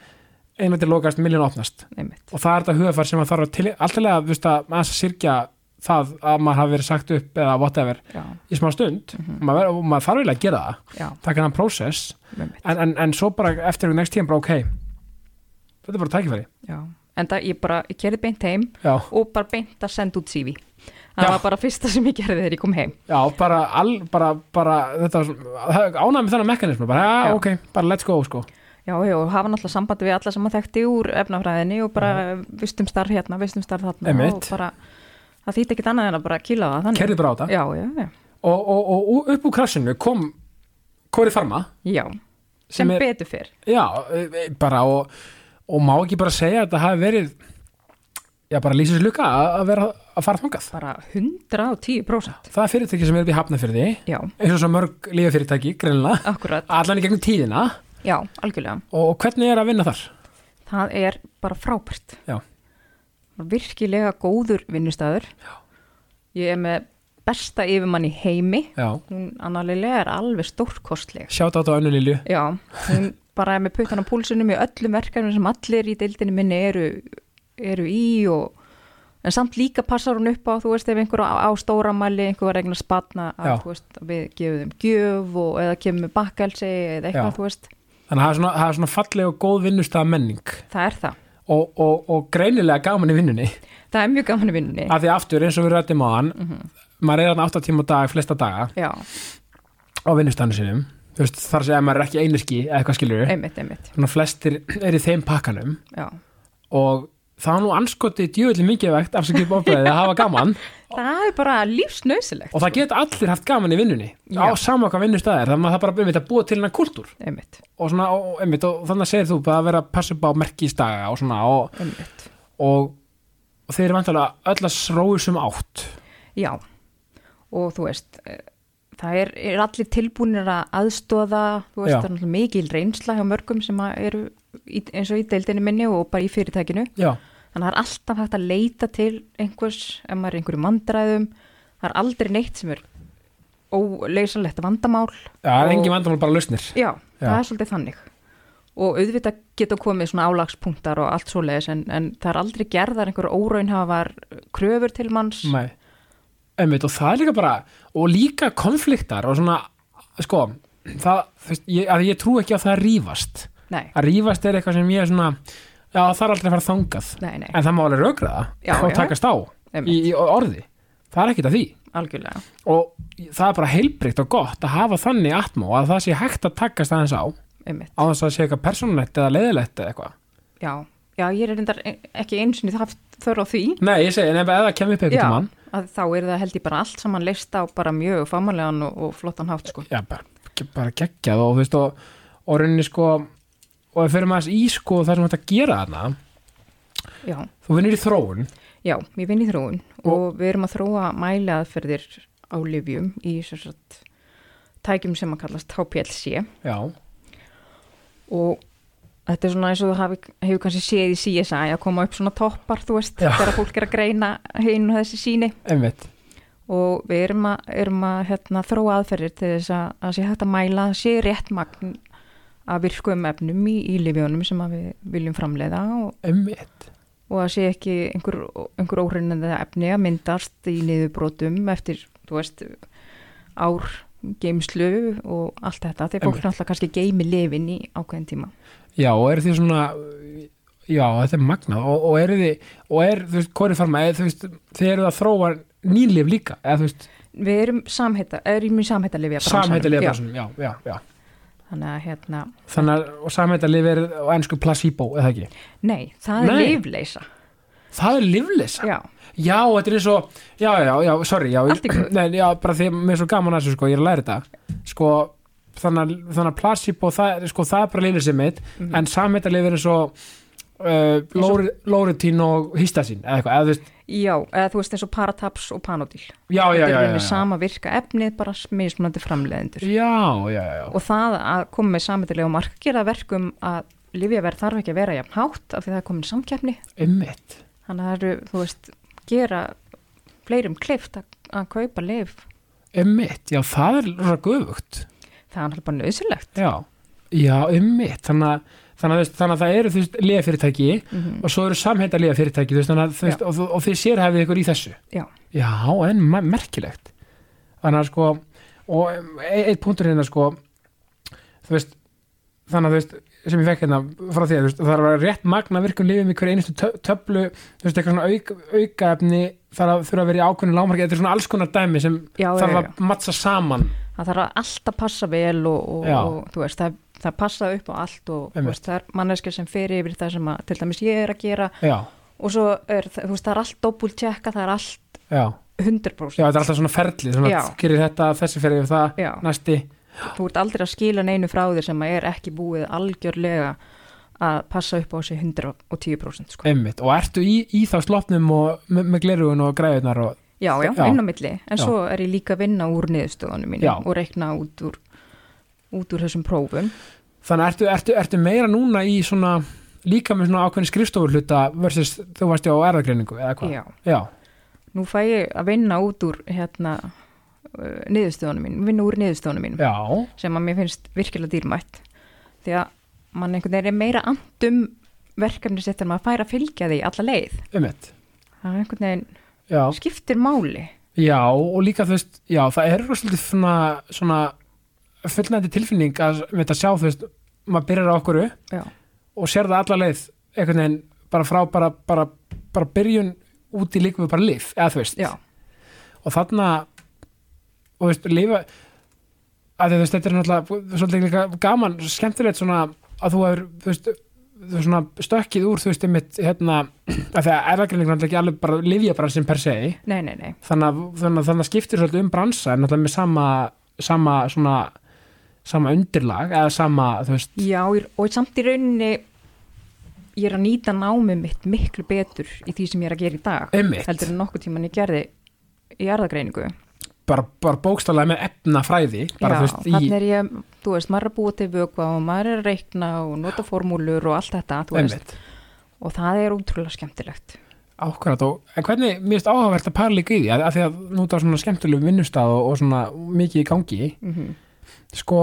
A: einlætti lokast, miljón opnast
C: einmitt,
A: og það er þetta hugafar sem maður þarf að til, alltaf að, þú veist, að maður að sirkja það að maður hafi verið sagt upp eða whatever
C: já,
A: í smá stund, maður, ver, og maður þarf eiginlega að gera það
C: já,
A: það er hann process,
C: einmitt,
A: en, en, en svo bara eftir einhvern next tíma bara ok þetta er bara tækifæri,
C: já. En það, ég bara, ég kerði beint heim
A: já,
C: og bara beint að senda út CV. Það
A: Já.
C: var bara fyrsta sem ég gerði þegar ég kom heim.
A: já, bara, all, bara, bara þetta, ánæmi þennan mekanismu bara, já,
C: Já.
A: ok, bara let's go, sko
C: Já, já, og hafa náttúrulega sambandi við alla sem að þekkti úr efnafræðinni og bara vistum starf hérna, vistum starf þarna
A: Einmitt.
C: og bara, það þýtti ekkit annað en að bara kýla það þannig.
A: kerði bara á þetta
C: Já, já, já,
A: og, og, og, og upp úr krasinu kom Kori Farma
C: já,
A: Sem
C: sem,
A: er-
C: betur fyrr
A: Já, e, e, bara og, og má ekki bara segja að þetta hafi verið já, bara lýsins lukka að að vera að fara þangað.
C: bara 110%
A: Það er fyrirtæki sem er upp í hafnafyrði
C: já,
A: eins og svo mörg lífafyrirtæki, greinlega
C: akkurat,
A: allan í gegnum tíðina
C: já, algjörlega
A: og, og hvernig er að vinna þar?
C: það er bara frábært
A: Já.
C: Bara virkilega góður vinnustæður já. ég er með besta yfirmann í heimi
A: Já,
C: hún annarlega er alveg stórkostleg
A: sjátt á Önnu Lilju
C: já, hún bara er með puttan á púlsunum í öllum verkefnum sem allir í deildinu minni eru, eru í og en samt líka passar hún upp á þú veist ef einhver á, á stóramæli einhver var eigin að spanna að,
A: Já.
C: þú veist, að við gefum þeim gjöf og eða kemur með bakkelsi eða
A: Já.
C: eitthvað þú veist,
A: Þannig að það er svona, það er svona falleg og góð vinnustæða menning
C: það er það
A: og, og, og greinilega gaman í vinnunni
C: það er mjög gaman í vinnunni
A: af því aftur eins og við rættum á hann maður er hann 8 tíma á dag flesta daga
C: já,
A: á vinnustæðinu sinum þú veist þar segja að maður er ekki einirki eða eitthvað skilur
C: einmitt, einmitt
A: þannig að flestir er í þeim pakkanum
C: já.
A: og það er nú anskotið djöðli mikið vegt afsakið bóðbæðið að hafa gaman
C: það er bara lífsnausilegt
A: og það geta allir haft gaman í vinnunni
C: Já.
A: á sama hvað vinnustæð er þannig að það er bara einmitt að búa til hennar kultúr
C: einmitt,
A: og, svona, og, einmitt, og þannig að segir þú bara að vera að passa upp á merkisdaga og svona og,
C: einmitt
A: og, og þeir eru vantarlega öll að srói sem átt
C: Já, og þú veist, eh, það er, er allir tilbúinir að aðstóða, þú veist,
A: Já.
C: það er náttúrulega mikil reynsla hjá mörgum sem að eru í, eins og í deildinu minni og bara í fyrirtækinu.
A: Já,
C: Þannig að það er alltaf hægt að leita til einhvers, ef maður er í einhverju mandræðum, það er aldrei neitt sem er óleysanlegt vandamál.
A: það er
C: Og-
A: engin vandamál bara lausnir
C: Já, það
A: Já.
C: er svolítið þannig. Og auðvitað geta komið svona álagspunktar og allt svoleiðis, en, en það er aldrei gerðar einhverju óraunhafar kröfur til manns.
A: Nei. Einmitt, og það er líka bara og líka konfliktar og svona sko, það, þú veist, ég, að ég trú ekki að það rífast
C: Nei,
A: að rífast er eitthvað sem ég er svona já það er aldrei að fara þangað
C: nei, nei,
A: en það má alveg rökraða
C: Já,
A: og
C: já.
A: takast á í,
C: Einmitt.
A: í orði það er ekkert að því
C: algjörlega.
A: og það er bara heilbrygt og gott að hafa þannig atmó að það sé hægt að takast aðeins á á
C: einmitt,
A: þess að það sé eitthvað persónulegt eða leiðilegt eða eitthvað
C: já, já ég er reyndar e- ekki eins og það þörf á því
A: nei ég segi nefnir eða kemur upp eitthvað
C: já,
A: til mann
C: að þá er það held ég bara allt saman leist á bara mjög fámanlegan og, og flottan hátt sko,
A: já bara, bara geggjað og þú veist og, og rauninni sko og ef fyrir maður í sko það sem hægt að gera þarna
C: já,
A: þú vinnur í þróun
C: já, ég vinn í þróun og, við erum að þróa mæleaðferðir á lifjum í sem sagt tækjum sem að kallast HPLC
A: já,
C: og þetta er svona eins og þú hafi, hefur kannski séð í CSI að koma upp svona toppar, þú veist,
A: Já.
C: þegar fólk er að greina hinn og þessi síni
A: einmitt
C: og við erum að, erum að hérna, þróa aðferðir til þess að, að sé hægt að mæla að sé rétt magn að virkum efnum í, í lifjónum sem að við viljum framleiða og,
A: einmitt
C: og að sé ekki einhver, einhver óhrinnandi efni að myndast í niðurbrotum eftir, þú veist, ár geimslu og allt þetta þegar fólk
A: Einmitt.
C: náttúrulega kannski geimi lifin í ákveðin tíma.
A: Já, og eru þið svona Já, þetta er magnað og, og eru þið, og er, þú veist, Kori Farma eða, þú veist, þið eru að þróa nýlif líka eða, þú veist,
C: Við erum samheita, erum í samheita lifja
A: samhættilega personum já, já, já,
C: Þannig að hérna,
A: þannig að, og samhættilif er á ennsku placebo, eða ekki
C: nei, það er
A: Nei.
C: lifleisa.
A: Það er lifleysa,
C: Já,
A: já, þetta er eins og já, já, já, sorry, já,
C: Allt í góðu.
A: nei, já bara því, mér er svo gaman að þessu, sko, ég er að læra þetta sko, þannig að, þannig að placebo, það, er- sko, það er bara lifleysið mitt
C: Mm.
A: en samhættilif er eins og uh, lóritín og histasín, eða eitthvað, eða, þú veist
C: já, eða þú veist eins og parataps og panodil.
A: Já, já, já, já,
C: þetta er
A: já,
C: rauninni
A: já.
C: sama virka efnið bara mismunandi framleiðendur
A: Já, já, já, já.
C: og það að koma með sametilega mark gera verkum að livjaverð þarf ekki að vera jafn hátt af því það er komin samkeppni
A: Einmitt.
C: þannig að það eru, þú veist, gera fleirum klift að, að kaupa liv
A: Einmitt, já, það er rosa guðvögt.
C: það er náttúrulega bara nöðsilegt
A: Já. Já, einmitt, þannig að, þannig að, þú veist, þannig að það eru, þú veist, liðafyrirtæki
C: Mhm.
A: og svo eru samheita liðafyrirtæki, þú veist, þannig að, þú veist, og, þú- og þið sérhæfið ykkur í þessu.
C: já,
A: Já, en ma- merkilegt. Þannig að, sko, og um, e- einn punktur hérna, sko, þú veist, þannig að, þú veist, sem ég fekk hérna frá því að, þú veist, það er að vera rétt magna virkum lifum í hverju einustu tö- töflu, þú veist, eitthvað svona auk, aukaefni, þarf að þurfa að vera í ákveðinu lámarki, þetta er svona alls konar dæmi sem
C: já, já,
A: þarf
C: já,
A: að mattsa saman
C: það þarf að alltaf passa vel og, og,
A: Já.
C: og þú veist, það, það passa upp á allt og þú
A: Einmitt.
C: veist, það er manneski sem fer yfir það sem að, til dæmis ég er að gera
A: já,
C: og svo er, það- þú veist, það er allt doppult tjekka, það er allt
A: já,
C: 100%
A: já, þetta er alltaf svona ferli svona
C: Já.
A: gerir þetta, þessi ferli og það,
C: Já.
A: næsti
C: þú ert aldrei að skila neinu frá þér sem að er ekki búið algjörlega að passa upp á þessi 110% sko.
A: einmitt, og ertu í, í þá sloppnum og með, með glerugun og græðunar og
C: já, já,
A: Já.
C: inn á milli en
A: Já.
C: svo er ég líka að vinna úr niðurstöðunum mínu
A: Já.
C: og reikna út úr, út úr þessum prófum
A: þannig ertu, ertu, ertu meira núna í svona líka með svona ákveðin skrifstofur hluta versus þú varst á erðagreiningu eða hvað?
C: já,
A: Já,
C: nú fæ ég að vinna út úr hérna, uh, niðurstöðunum mín vinna úr niðurstöðunum mín
A: já,
C: sem að mér finnst virkilega dýrmætt því að mann einhvern veginn er meira andum verkefni sitt en maður fær að fylgja því alla leið
A: einmitt
C: það er einhvern veginn
A: já,
C: skiptir máli
A: já, og líka þú veist já, það er svolítið svona, svona fullnændi tilfinning að, einmitt, að sjá þú veist, maður byrjar á okkur
C: já,
A: og sér það alla leið einhvern veginn bara frá bara, bara, bara byrjun út í líka við bara líf eða þú veist,
C: já,
A: og þarna og veist, lifa að þú veist, þetta er náttúrulega svolítið líka gaman, skemmtilegt svona að þú hefur, þú veist þú veist, svona stökkið úr, þú veist, einmitt hérna, að því að erðagreining náttúrulega ekki alveg bara livjabransin per se,
C: nei, nei, nei
A: þannig að þannig, að- þannig að skiptir svolítið um bransa, en náttúrulega með sama sama svona sama undirlag, eða sama, þú veist
C: Já, ég- og samt í rauninni ég er að nýta námið mitt miklu betur í því sem ég er að gera í dag
A: einmitt,
C: heldur en nokkuð tíman ég gerði í erðagreiningu
A: bara, bara bókstálega með efna fræði, bara
C: Já,
A: þú veist,
C: þannig er ég, þú veist, maður er að búa til vökva og maður er að reikna og nota formúlur og allt þetta,
A: í
C: þú veist
A: einmitt,
C: og það er útrúlega skemmtilegt
A: Ákvært og, en hvernig, mér finnst áhugavert að para líka í því að, að því að nú það er svona skemmtilegu vinnustaf og, og svona mikið í gangi
C: mm -hmm.
A: sko,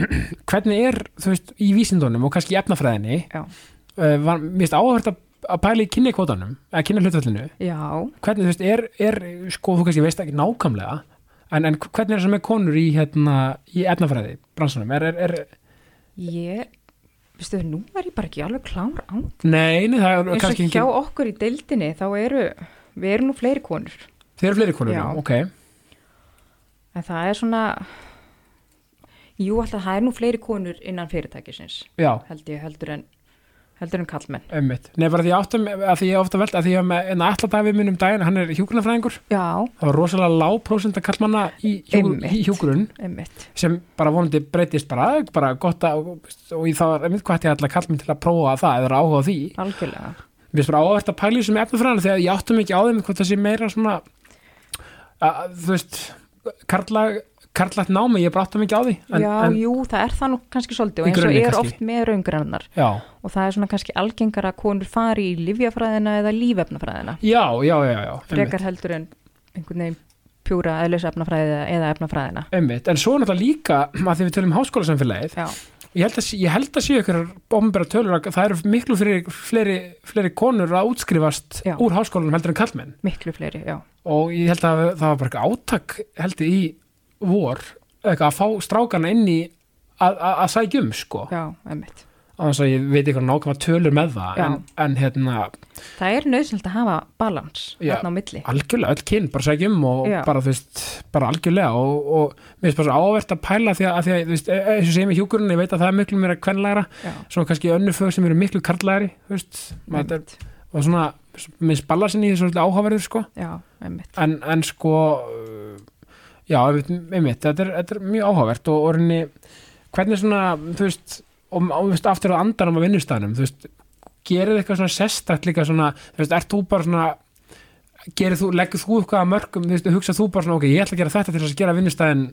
A: hvernig er þú veist, í vísindunum og kannski í efnafræðinni
C: Já.
A: uh, var, mér finnst áhugavert að, að pæla í kynni kvotanum, eða kynni hlutvöllinu
C: Já,
A: hvernig, þú veist, er, er sko, þú kannski veist ekki nákvæmlega en, en hvernig er það sem er konur í, hérna, í efnafræði, bransunum er, er, er,
C: ég veistu, nú er ég bara ekki alveg klár á
A: nei, nei, það er
C: eins og
A: kannski
C: hjá
A: engin,
C: okkur í deildinni þá eru, við erum nú fleiri konur
A: þeir eru fleiri konur,
C: Já.
A: nú, ok
C: en það er svona jú, alltaf það er nú fleiri konur innan fyrirtækisins
A: já,
C: held ég heldur en heldur en kallmenn
A: Einmitt. Nei, bara því ég áttum, að því ég ofta velt að því ég hef með en alladafi minn um daginn, hann er hjúgrunafræðingur
C: Já,
A: það var rosalega lág prósenda kallmanna í, hjúgr,
C: Einmitt.
A: í hjúgrun
C: einmitt
A: sem bara vonandi breytist bara, bara gott að, og ég það var einmitt hvað hætti allar kallmenn til að prófa það eða áhuga á því
C: algjörlega
A: mér finnst bara áhvert að pæli sem efnafræðan þegar ég áttum ekki á þeim hvort það sé meira svona að, þú veist karla, karlat námi ég bara áttum ekki á því en,
C: Já,
A: en,
C: jú, það er það nú kannski svolítið
A: Í
C: og eins og
A: grunni
C: er
A: kannski.
C: oft með raungrannar
A: já,
C: og það er svona kannski algengar að konur fari í livjafræðina eða lífefnafræðina
A: já, já, já, já einmitt.
C: frekar heldur en einhvern veginn pjúra eðlisefnafræði eða efnafræðina
A: einmitt, en svo er náttúrulega líka að því við tölum um háskólasamfélagið
C: Já, ég
A: Ég held að, sé- ég held að séu ykkur ofnbæra tölur að það eru miklu fyrir, fleiri, fleiri konur að útskrifast
C: Já.
A: úr háskólanum heldur en kallmenn
C: miklu fleiri, já
A: og ég held að það var bara eitthvað átak held ég í vor eitthvað að fá strákana inn í að, að, að sækja um sko
C: Já, emmitt.
A: á þess að ég veit eitthvað nákvæmlega tölur með það
C: Já.
A: en, en hérna
C: Það er nöðsynlegt að hafa balans
A: Já.
C: þarna á milli.
A: algjörlega öll kyn bara sækja um og
C: Já.
A: bara þú veist bara algjörlega og, og mér finnst bara svo áverðt að pæla því að, að því að þú veist e, eins og segjum í hjúkurinn ég veit að það er miklu meira kvenlæra
C: Já,
A: svo kannski önnu fög sem eru miklu karlæri þú veist maður
C: emmitt.
A: og svona, minn spalla sinni í þessu svolítið áhafarður sko,
C: Já, emmitt.
A: en, en sko uh, já, einmitt, einmitt þetta, er, þetta er mjög áhagvert og orðinni hvernig svona, þú veist og og, þú veist, aftur á andanum á vinnustæðnum þú veist, gerir eitthvað svona sestrætt líka svona, þú veist, ert þú bara svona gerir þú, leggur þú eitthvað að mörgum þú veist, hugsa þú bara svona, ok, ég ætla að gera þetta til þess að gera vinnustæðin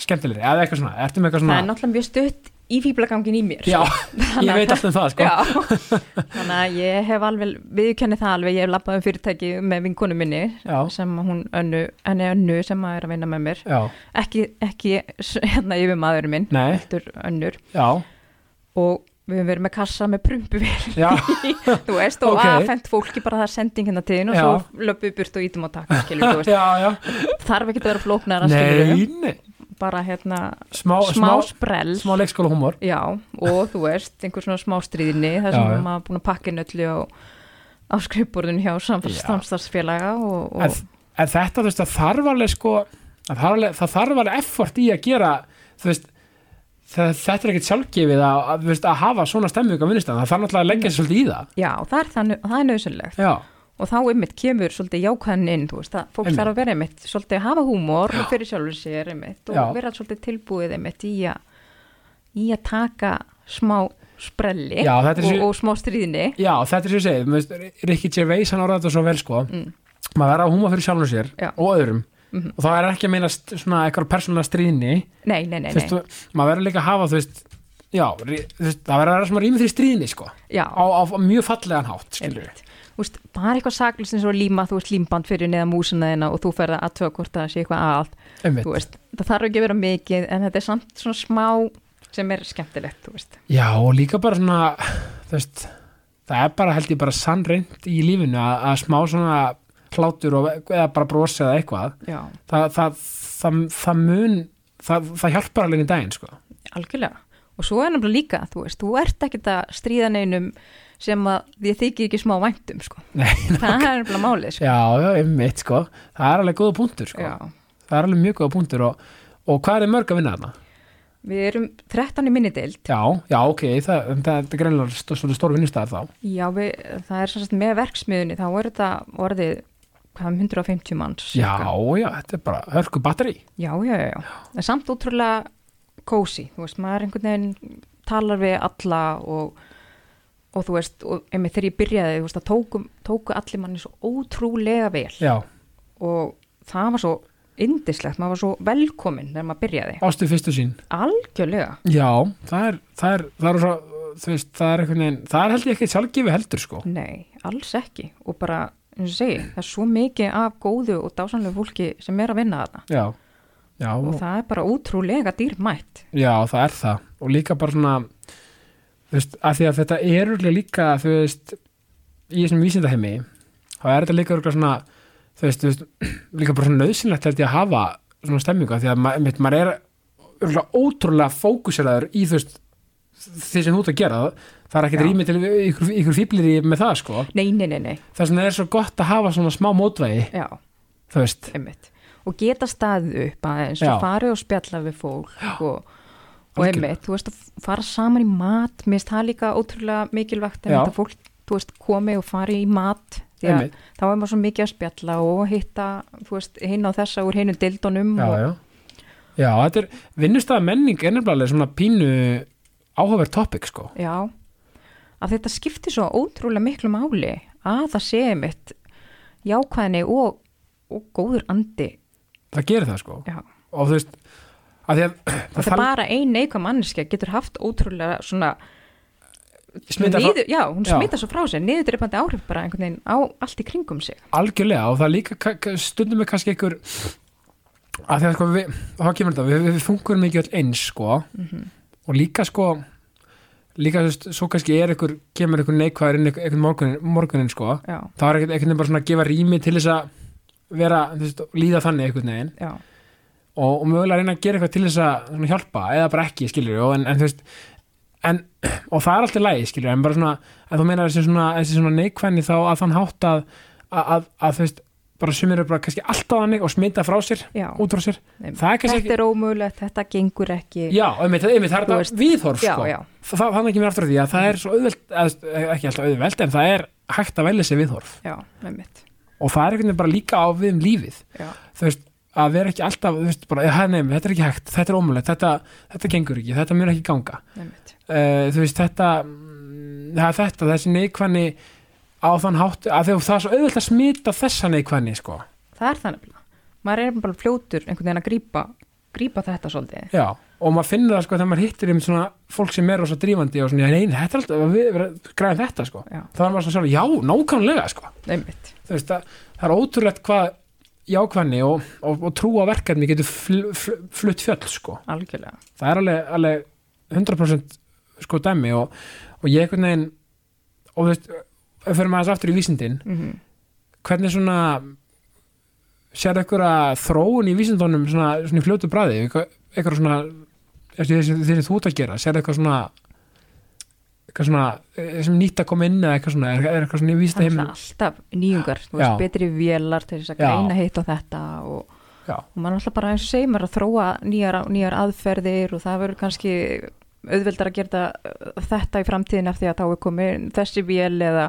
A: skemmtilegri, eða eitthvað svona, ertu með eitthvað
C: Það er
A: svona
C: náttúrulega mjög stutt í fýblagangin í mér.
A: já,
C: Þannig
A: ég
C: að
A: veit
C: það-
A: allt um það sko
C: Já, þannig að ég hef alveg, viðkenni það alveg, ég hef lappað um fyrirtæki með vinkonu minni
A: Já.
C: sem að hún önnu, henni önnu sem að er að vinna með mér,
A: já,
C: ekki, ekki s- hérna yfir maðurinn minn,
A: nei,
C: heldur önnur
A: já,
C: og við höfum verið með kassa með prumpuvel,
A: já
C: þú veist, og
A: Ok.
C: okay. aðfendt fólki bara það er sending hérna til þín og
A: Já.
C: svo löpum við burt og ítum á takk, skilur, þú veist,
A: já, já,
C: þarf ekki að vera flóknara, skilur,
A: nei, nei
C: bara hérna
A: smá,
C: smá
A: smá,
C: sprell.
A: smá leikskóla humor
C: Já, og þú veist, einhver svona smástríðinni, það sem
A: Já, já.
C: maður er búin að pakka inn öllu á, á skrifborðinu hjá samf-
A: Já.
C: samstarfsfélaga og,
A: en,
C: og
A: en þetta þú veist það þarf alveg sko það þarf alveg, það þarf alveg effort í að gera þú veist það, þetta er ekkert sjálfgefið að, að, þú veist, að hafa svona stemming á vinnustæðan það þarf náttúrulega að leggja sig svolítið í það
C: Mm. já, það er, þannig, það er nöðsynlegt
A: já,
C: og þá einmitt kemur svolítið jákvæðan inn þú veist að fólk
A: Einmitt.
C: þarf að vera einmitt svolítið að hafa húmor og fyrir sjálfur sér einmitt og
A: Já.
C: vera svolítið tilbúið einmitt í að í að taka smá sprelli
A: Já, þetta er
C: og,
A: svo-
C: og smá stríðni
A: Já, þetta er sem ég segið, þú veist, Ricky Gervais hann orðaði þetta svo vel sko maður verða að húma fyrir sjálfum sér
C: Mm. Já. Mhm.
A: og öðrum og það er ekki að meina st- svona eitthvað persónulega stríðni
C: nei, nei, nei,
A: Þú
C: nei,
A: veist, þú- maður verður líka að hafa þú veist, já, rí, þú veist, það verður að vera svona rými fyrir stríðni sko,
C: já
A: á, á, á mjög fallegan hátt skilur við,
C: einmitt. Þú veist, bara eitthvað saklust eins og að líma, þú veist límband fyrir neða músina þina og þú ferð að aðtöga hvort það sé eitthvað að
A: einmitt
C: þú veist, það þarf ekki að vera mikið en þetta er samt svona smá sem er skemmtilegt, þú veist
A: já og líka bara svona þú veist, það er bara held ég bara sannreint í lífinu að, að smá svona hlátur og, eða bara brosi eða eitthvað
C: já,
A: það, það, það, það mun það, það hjálpar alveg í daginn sko
C: algjörlega og svo er nefnilega líka, þú veist, þú ert ekkert að stríða neinum sem að því þykir ekki smá væntum, sko
A: Nei,
C: það er nefnilega málið, sko
A: já, já, einmitt sko það er alveg góða punktur sko
C: já.
A: það er alveg mjög góða punktur og, og hvað er mörg að vinna þarna?
C: við erum 13 í minni deild
A: Já, já, ok, það, það, það er greinlega stór, svolítið stór vinnustæðar þá
C: já, við, það er svona með verksmiðunni þá er þetta orðið hvað, 150 manns
A: Já,
C: cirka.
A: já, þetta er bara hörku batteri
C: já, já, já, já. En samt útrúlega kósi, þú veist, maður einhvern veginn talar við alla og, og þú veist, og einmitt þegar ég byrjaði, þú veist, það tóku, tóku allir manni svo ótrúlega vel
A: Já,
C: og það var svo indislegt, maður var svo velkominn þegar maður byrjaði,
A: ástu fyrstu sín
C: algjörlega
A: Já, það er, það er, það er svo, þú veist, það er einhvern veginn það er held ég ekki sjálfgefi heldur sko
C: Nei, alls ekki og bara, eins og segi, það er svo mikið af góðu og dásanlegu fólki sem er að vinna þarna
A: Já, já,
C: og það er bara útrúlega dýrmætt
A: já, það er það og líka bara svona þú veist, af því að þetta er örugglega líka, þú veist í þessum vísindaheimi þá er þetta líka örugglega svona þú veist, þú veist, líka bara svona nöðsynlegt held ég að hafa svona stemmingu af því að ma- einmitt, maður er örgulega ótrúlega fókuseraður í þú veist því sem þú ert að gera það er ekkert
C: Já.
A: rými til ykkur, ykkur fýblir í með það sko
C: Nei, nei, nei, nei,
A: þess vegna er svo gott að hafa svona smá mótvægi
C: já,
A: þú veist,
C: einmitt og geta staðið upp aðeins
A: Já.
C: og farið og spjalla við fólk og, og
A: algjörlega.
C: einmitt, þú veist að fara saman í mat mér finnst það líka ótrúlega mikilvægt en
A: Já.
C: þetta fólk, þú veist, komi og fari í mat því að
A: einmitt,
C: þá er maður svo mikið að spjalla og hitta, þú veist, hinn á þessa úr hinum dildunum
A: já,
C: og,
A: já já, þetta er, vinnustæða menning er nefnilega alveg svona pínu áhugaverð topic sko,
C: Já, að þetta skiptir svo ótrúlega miklu máli að það sé mitt jákvæðni og, og góður andi.
A: það gerir það sko
C: Já.
A: og þú veist, af því að
C: Það er bara ein neikvæð manneskja getur haft ótrúlega svona
A: smita frá-
C: niður, já, hún
A: Já.
C: smita svo frá sér, niðurdreipandi áhrif bara einhvern veginn á allt í kringum sig.
A: algjörlega og það er líka ka- ka- stundum er kannski einhver að því að sko við, þá kemur þetta við, við fungurum ekki öll eins sko og líka sko líka þú veist, svo kannski er einhver kemur einhver neikvæður inn einhver morgunin, morgunin sko,
C: Já,
A: þá er einhvern veginn bara svona að gefa rými til þess að vera, þú veist, líða þannig einhvern veginn
C: já,
A: og, og mögulega reyna að gera eitthvað til þess að svona, hjálpa eða bara ekki, skilur við en, en, þú veist, en, og það er alltaf lægi, skilur við en bara svona, en þú meinar þessi svona, þessi svona neikvæðni þá að þann hátt að, að, að, að þú veist, bara sumir eru bara kannski alltaf þannig og smita frá sér,
C: já.
A: út frá sér
C: Nei,
A: það er kannski
C: Þetta
A: ekki,
C: er ómögulegt, þetta gengur ekki.
A: já, einmitt, einmitt það
C: Þú
A: er
C: veist,
A: þetta viðhorf,
C: já,
A: sko
C: já,
A: Þa- það, þannig kemur aftur að því að það er svo auðvelt, eða, þú veist, ekki alltaf auðvelt en það er hægt að velja sér viðhorf
C: já, einmitt.
A: og það er einhvern veginn bara líka á við um lífið
C: Já.
A: þú veist, að vera ekki alltaf þú veist, bara, ja, nei, þetta er ekki hægt, þetta er ómulegt þetta, þetta gengur ekki, þetta mjög ekki ganga
C: einmitt.
A: uh, þú veist, þetta mm, það er þetta, þessi neikvæðni á þann hátt, að þegar það er svo auðvelt að smita þessa neikvæðni, sko
C: Það er þannig að maður er bara fljótur einhvern veginn að grípa, grípa þetta svolítið.
A: já, og maður finnur það, sko, þegar maður hittir um svona fólk sem er rosa drífandi og svona, já, nei, þetta er alltaf, við, við græðum þetta, sko
C: Já,
A: þá er maður svona, sjálf, já, nákvæmlega, sko
C: einmitt.
A: þú veist, það, það er ótrúlegt hvað jákvæðni og, og, og trú á verkefni getur fl, fl, flutt fjöll, sko
C: Algjörlega.
A: það er alveg, alveg 100% sko dæmi og, og ég einhvern veginn og þú veist, ef við fyrir maður aftur í vísindin
C: Mm
A: hvernig svona sér eitthvað þróun í vísindunum svona, svona í fljótu bræði eitthvað svona eftir því sem- því sem þú ert að gera, sér eitthvað svona eitthvað svona eh, sem nýtt að koma inn eða eitthvað svona, er, er eitthvað svona í
C: Það er
A: vísindaheimum
C: náttúrulega alltaf nýjungar, þú veist,
A: Já.
C: betri vélar til þess að
A: Já.
C: greina hitt og þetta og,
A: Já.
C: og maður er alltaf bara eins og segir maður að þróa nýjar, nýjar aðferðir og það verður kannski auðveldar að gera það- þetta í framtíðin af því að þá er komið þessi vél eða,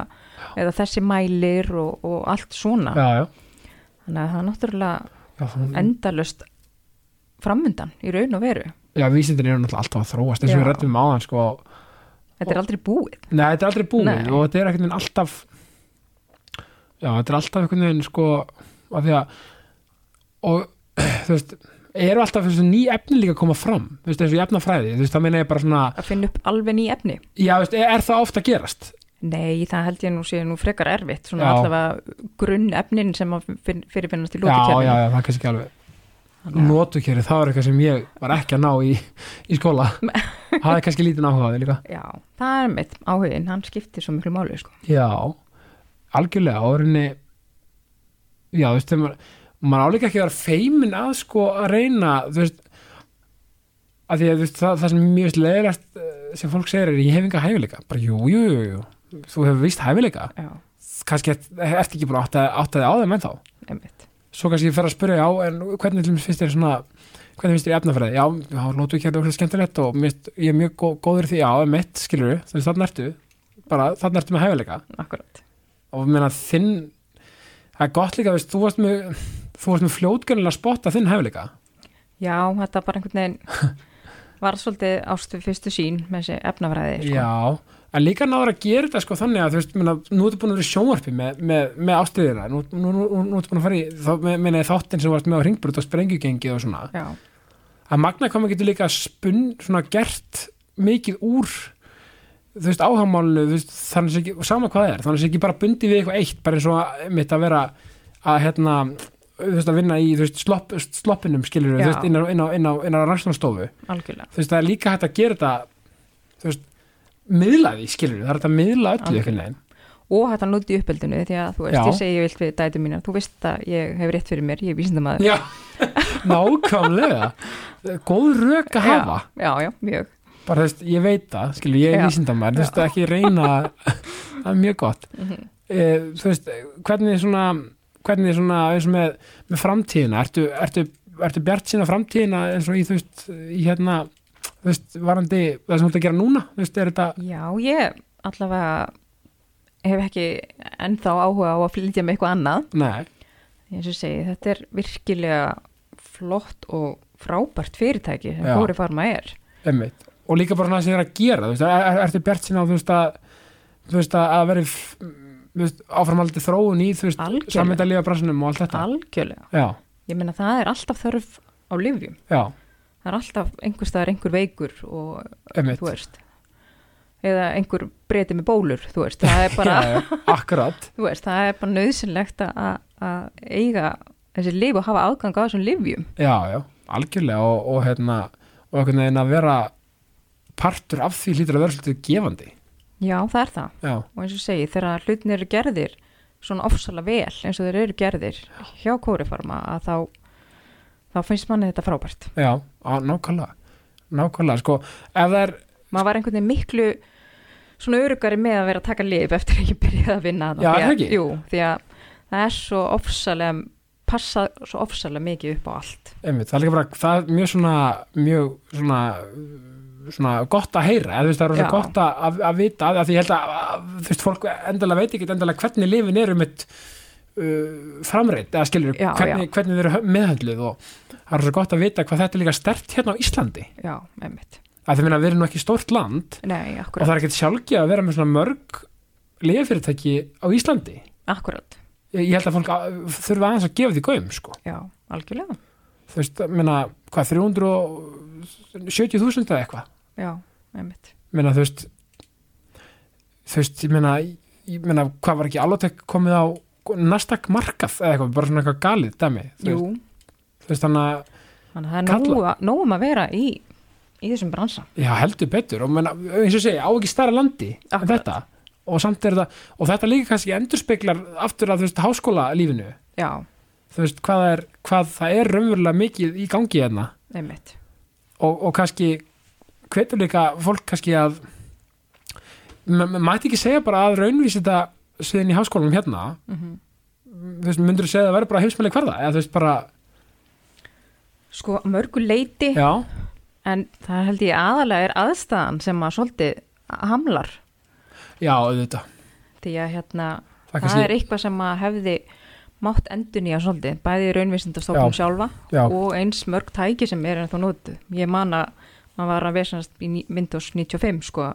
C: eða þessi mælir og, og allt svona
A: já, já.
C: þannig að það er náttúrulega
A: Já, þannig-
C: endalust framundan í raun og veru
A: já vísindin eru náttúrulega alltaf að þróast eins og við
C: Já.
A: rættum áðan sko.
C: þetta er aldrei búið
A: Nei, þetta er aldrei búið
C: Nei.
A: og þetta er einhvern veginn alltaf já, þetta er alltaf einhvern veginn sko, af því að og, þú veist eru alltaf þessu ný efni líka að koma fram þú veist, þessu efnafræði, þú veist, það meina ég bara svona
C: að finna upp alveg ný efni
A: já, þú veist, e, er það ofta að gerast
C: Nei, það held ég nú sé nú frekar erfitt svona
A: Já.
C: allavega grunn efnin sem að finn- fyrirfinnast í
A: já, já, já,
C: lókikjörnum
A: það er kannski ekki alveg notukjöri, það var eitthvað sem ég var ekki að ná í, í skóla það er kannski lítið náhugaði líka
C: já, það er mitt áhugin, hann skiptir svo miklu máli sko.
A: Já, algjörlega og reyni já, þú veist, þegar maður, maður álíka ekki að vera feimin að sko að reyna þú veist að því að þú veist, það, það sem mjög leðilegt eh, sem fólk segir er ég hef enga hæfileika bara jú, jú, jú, jú, þú hefur vist hæfileika
C: Já,
A: kannski ert- ertu ekki búin að átta- átta þig á þeim ennþá
C: einmitt
A: svo kannski ég fer að spyrja já, en hvernig til mér finnst þér svona hvernig finnst þér í efnafræði, já, já, lótu ekki að það er skemmtilegt og mér finnst- ég er mjög gó- góður í því já, mitt, skilur við, þannig þannig ertu bara þannig ertu með hæfileika
C: Akkurat,
A: og ég meina þinn það er gott líka, veist, þú varst með þú varst með fljótgjörnilega að spotta þinn hæfileika
C: já, þetta bara einhvern veginn var svolítið ástu fyrstu sín með þessi efnafræði sko.
A: já, en líka náður að gera þetta sko þannig að þú veist, meina, nú ertu búin að vera í sjónvarpi með, með, með ástriðina, nú, nú, nú, nú, nú ertu búin að fara í þá, me- meina ég þáttinn sem þú varst með á ringbrut og sprengjugengi og svona
C: Já,
A: að magna hvað maður getur líka spun, svona gert mikið úr þú veist, áhagamálinu þú veist, þannig sé ekki, og sama hvað það er þannig sé ekki bara bundi við eitthvað eitt, bara eins og að, mitt að vera að hérna þú veist, að vinna í, þú veist, slopp, sloppinum skilur
C: Já.
A: þú veist, inn á, inn á, inn á, inn á rannsóknarstofu.
C: algjörlega
A: þú veist, það er líka hægt að gera þetta þú veist, miðla því skilur það er hægt að miðla öllu
C: Algjörlega.
A: einhvern veginn
C: Og þetta núti í uppeldinu því að þú veist,
A: Já.
C: ég segi vilt við dæti mínar Þú veist að ég hef rétt fyrir mér, ég er vísindamaður
A: já, nákvæmlega góð rök að hafa
C: Já, já, mjög
A: bara þú veist, ég veit það, skilur, ég er
C: Já. Mhm.
A: vísindamær þú veist, ekki reyna það er mjög gott mm þú veist, hvernig svona hvernig svona eins og með, með framtíðina ertu, ertu, ertu bjart sína framtíðina eins og í, þú veist, í hérna þú veist, varandi, það sem þú ert að gera núna þú veist, er þetta,
C: Já, ég allavega hef ekki ennþá áhuga á að flytja með eitthvað annað
A: nei,
C: eins og ég segi, þetta er virkilega flott og frábært fyrirtæki sem
A: Já.
C: Kóri Farma er
A: emmitt og líka bara svona sem þið er að gera, þú veist, er, er, ertu bjart sína þú veist, að, þú veist, að að veri þú veist, áframhaldi þróun í, þú veist,
C: Algjörlega.
A: sammyndalíða bransunum og allt þetta,
C: algjörlega,
A: já,
C: ég meina það er alltaf þörf á livjum,
A: já,
C: það er alltaf einhver staðar einhver veikur og
A: emmitt
C: þú veist eða einhver breyti með bólur, þú veist það er bara,
A: akkurat
C: þú veist, það er bara nöðsynlegt að, að eiga þessi lif og hafa aðgang á þessum livjum
A: Já, já, algjörlega og, og hérna, og einhvern veginn að vera partur af því hlýtur að vera svolítið gefandi.
C: já, það er það
A: Já,
C: og eins og ég segi, þegar hlutin eru gerðir svona ofsalega vel eins og þeir eru gerðir hjá kórifarma að þá, þá finnst manni þetta frábært
A: já, á, nákvæmlega, nákvæmlega, sko, ef það er,
C: maður var einhvern veginn miklu svona örugari með að vera að taka lif eftir að ég byrjaði að vinna þarna.
A: Já,
C: Því að-
A: er það ekki?
C: Jú, því að það er svo ofsalega passa svo ofsalega mikið upp á allt
A: einmitt, það er líka bara, það er mjög svona, mjög svona, svona gott að heyra, eða þú veist, það er
C: Já.
A: rosa gott að, að, að vita, af því ég held að, að, þú veist, fólk endalega veit ekki endalega hvernig lifin eru mitt uh, framreitt, eða skilur,
C: Já,
A: hvernig, hvernig þau eru hö- meðhöndluð og það er rosa gott að vita hvað þetta er líka stert hérna á Íslandi.
C: já, emmitt,
A: Að það meina að við erum nú ekki stórt land
C: nei,
A: og það
C: akkurat
A: er ekkert sjálfgjöð að vera með svona mörg liðfyrirtæki á Íslandi
C: akkurat,
A: ég ég held að fólk að- þurfi aðeins að gefa því gaum sko.
C: já, algjörlega
A: þú veist, ég meina, hvað, 370.000 eða eitthvað
C: já, emmitt,
A: Ég meina, þú veist þú veist, ég meina, ég meina hvað var ekki alveg komið á Nasdaq markað eða eitthvað, bara svona eitthvað galið dæmi, þú
C: jú
A: veist, þú veist þannig að
C: þannig að það er nóg að- nóg um að vera í í þessum bransa
A: Já, heldur betur og menna, eins og ég segi, á ekki stærra landi en
C: Akkurat.
A: þetta og samt er þetta, og þetta líka kannski endurspeglar aftur að þú veist háskóla lífinu
C: já,
A: þú veist, hvað það er, hvað það er raunverulega mikið í gangi hérna
C: emmitt
A: og, og kannski hvetur líka fólk kannski að ma- ma- mætti ekki segja bara að raunvísi þetta sviðin í háskólanum hérna þú
C: Mhm.
A: veist, myndur þú segja að það verður bara heimsmæli hverða eða þú veist bara,
C: Sko, að mörgu leiti,
A: já,
C: en það held ég aðalega er aðstæðan sem að svolítið hamlar
A: Já, auðvitað.
C: því að hérna
A: Það
C: það,
A: kannski-
C: er eitthvað sem að hefði mátt endunýja svolítið, bæði raunvísindastofnum
D: Já.
C: sjálfa
D: Já.
C: og eins mörg tæki sem er ennþá nótu ég man að maður var að vesanast í ní- Windows 95 sko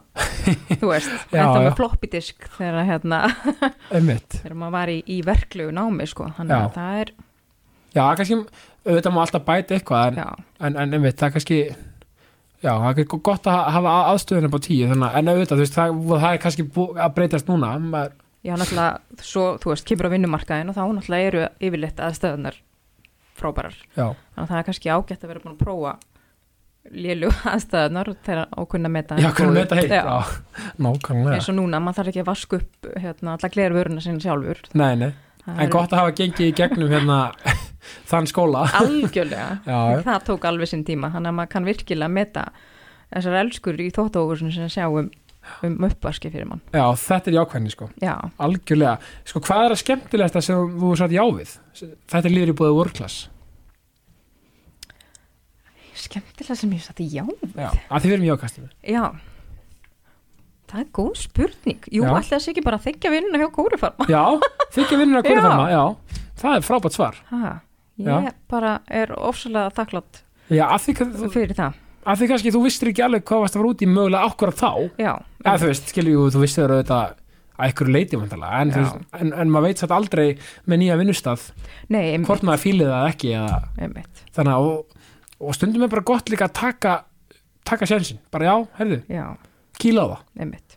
C: þú veist,
D: Já,
C: ennþá með
D: já.
C: floppy disk þegar, að, hérna,
D: Einmitt.
C: þegar maður var í, í verklegu námi sko, þannig
D: Já.
C: að það er
A: Já, kannski, auðvitað má alltaf bæta eitthvað, en,
C: já,
A: en, en einmitt, það er kannski, já, það er gott að hafa aðstöðuna upp á tíu, þannig, að- en auðvitað, þú veist, það, það er kannski bú, að breytast núna, maður,
C: já náttúrulega svo, þú veist, kemur á vinnumarkaðin og þá náttúrulega eru yfirleitt aðstöðunar frábærar,
A: já,
C: þannig að það er kannski ágætt að vera búin að prófa lélu aðstæðunar þegar og kunna meta
A: já, hvernig með þetta heitt,
C: Já.
A: já, nákvæmlega.
C: eins og núna, maður þarf ekki að vasku upp hérna, alla glervöruna sinna sjálfur
A: Nei, nei,
C: Það
A: en
C: er
A: gott að hafa gengið í gegnum hérna þann skóla.
C: algjörlega,
A: Já, já.
C: það tók alveg sinn tíma þannig að maður kann virkilega meta þessar elskur í þóttókursun sem sjá um, um uppvaski fyrir mann
A: Já, þetta er jákvæmni, sko,
C: já,
A: algjörlega. Sko, hvað er að skemmtilegsta sem þú satt já við? Þetta er líður í búið vorklass.
C: skemmtilega sem ég satt í já
A: Já, að því við erum í jákastinu.
C: já, það er góð spurning jú,
A: Já.
C: alltaf þess ekki bara að þykja vinnuna hjá kórufarma
A: Já, þykja vinnur að
C: Já.
A: kóra farma, já, það er frábært svar.
C: ha, ég
A: Já.
C: bara er ofsalega þakklátt
A: Já, að því, þú,
C: fyrir það
A: að því kannski þú vissir ekki alveg hvað varst að fara út í mögulega akkurat þá
C: já,
A: eða þú veist, skilur jú, þú vissir auðvitað að einhverju leiti vantarlega en, þú
C: Já.
A: veist, en, en maður veit satt aldrei með nýja vinnustaf
C: nei, einmitt,
A: hvort maður fílið það ekki eða,
C: einmitt.
A: þannig að og, og stundum er bara gott líka að taka taka sjensin, bara já, herðu,
C: já
A: kýla á það
C: einmitt.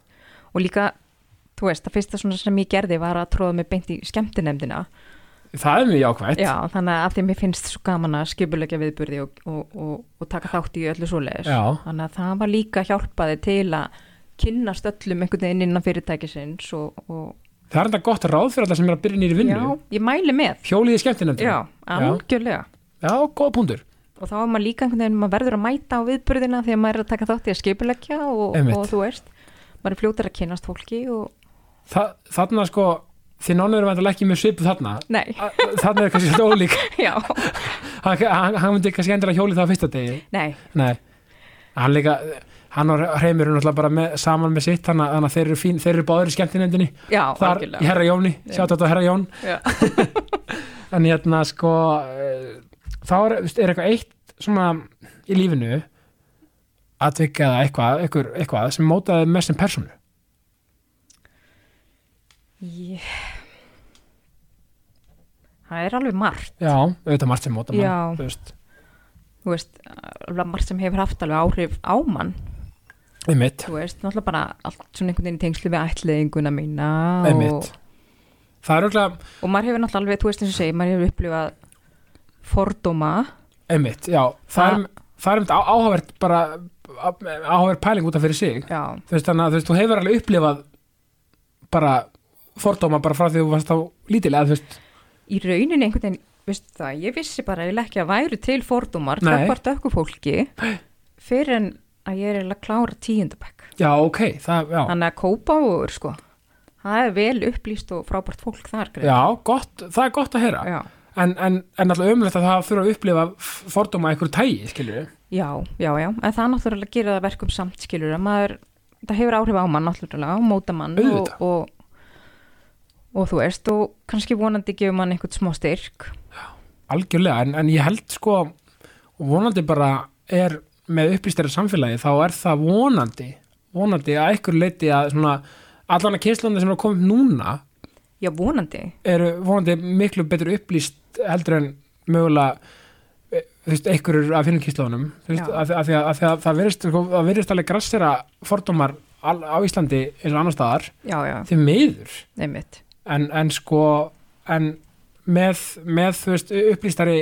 C: Og líka, þú veist, það fyrsta svona sem ég gerði var að tróða mig beint í skemmtinefndina.
A: það er mjög jákvæmt
C: Já, þannig að af því að mér finnst svo gaman að skipulegja viðburði og, og, og, og taka þátt í öllu svoleiðis.
A: Já.
C: Þannig að það var líka hjálpaði til að kynnast öllum einhvern veginn innan fyrirtækisins og, og
A: það er enda gott ráð fyrir alla sem er að byrja nýri vinnu
C: já, ég mæli með.
A: hjóliði skemmtinefndir
C: Já, algjörlega.
A: já, góða punktur
C: Og þá er maður líka einhvern veginn, maður verður að mæta á viðburðina þegar maður er að taka þátt í að skipulegja og,
A: Einmitt.
C: og þú veist, maður er fljótar að kynnast fólki og,
A: Þa, þarna sko, þið nánur erum þetta ekki með svipu þarna
C: nei,
A: Að- þarna er kannski svolítið ólík
C: já,
A: hann, hann, hann myndi kannski endur að hjóli það á fyrsta degi
C: nei,
A: Nei, hann líka hann og Hreimur er náttúrulega bara með, saman með sitt þannig að- þannig að þeir eru, fín, þeir eru báður í skemmtinefndinni
C: já,
A: þar í Herra Jóni, sjátt á Herra Jón
C: Já.
A: en hérna sko eh, þá er, þú veist, er eitthvað eitt svona í lífinu atvika eða eitthvað, eitthvað, eitthvað sem mótaði mest sem persónu
C: Ég... Það er alveg margt,
A: Já, auðvitað margt sem mótaði
C: Já.
A: mann, þú veist,
C: þú veist, alveg margt sem hefur haft alveg áhrif á mann,
A: einmitt
C: þú veist, náttúrulega bara allt svona einhvern veginn í tengslu við ætliðinguna mína og,
A: Einmitt. það er auðvitað,
C: og maður hefur náttúrulega alveg, þú veist eins og segir, maður hefur upplifað fordóma,
A: einmitt, já það er, það er einmitt á- áhugavert bara áhugavert pæling út af fyrir sig
C: já,
A: þú veist þannig að þú, veist, þú hefur alveg upplifað bara fordóma bara frá því þú varst á lítilega þú veist,
C: í rauninni einhvern veginn, veist það, ég vissi bara eiginlega ekki að væru til fordómar,
A: Nei.
C: takkvart ökku fólki, fyrir en að ég er eiginlega að klára tíundabæk.
A: já ok það, já,
C: Þannig að kópa og, sko, það er vel upplýst og frábært fólk þar, greið.
A: já gott, það er gott að heyra
C: Já,
A: en, en, en alltaf umlegt að það þurfa að upplifa f- fordóma af einhverju tægi skilur við
C: já, já, já, en það náttúrulega gerir það verkum samt skilur að maður, það hefur áhrif á mann náttúrulega, á móta mann og,
A: Auðvitað.
C: og, og þú veist, og kannski vonandi gefur mann einhvern smá styrk,
A: algjörlega en, en ég held sko og vonandi bara er með upplýstari samfélagi þá er það vonandi vonandi að einhverju leiti að svona allan að kynslanda sem er að koma upp núna
C: já, vonandi,
A: eru vonandi miklu betur upplýst heldur en mögulega e, þú veist, einhverjur af hinnum kyslaðunum þú veist,
C: Já.
A: af, því- af því að, af því að það verist það verist alveg grassera fordómar al, á Íslandi eins og annar staðar
C: já, já,
A: því miður
C: einmitt,
A: en, en sko en með, með þú veist, upplýstari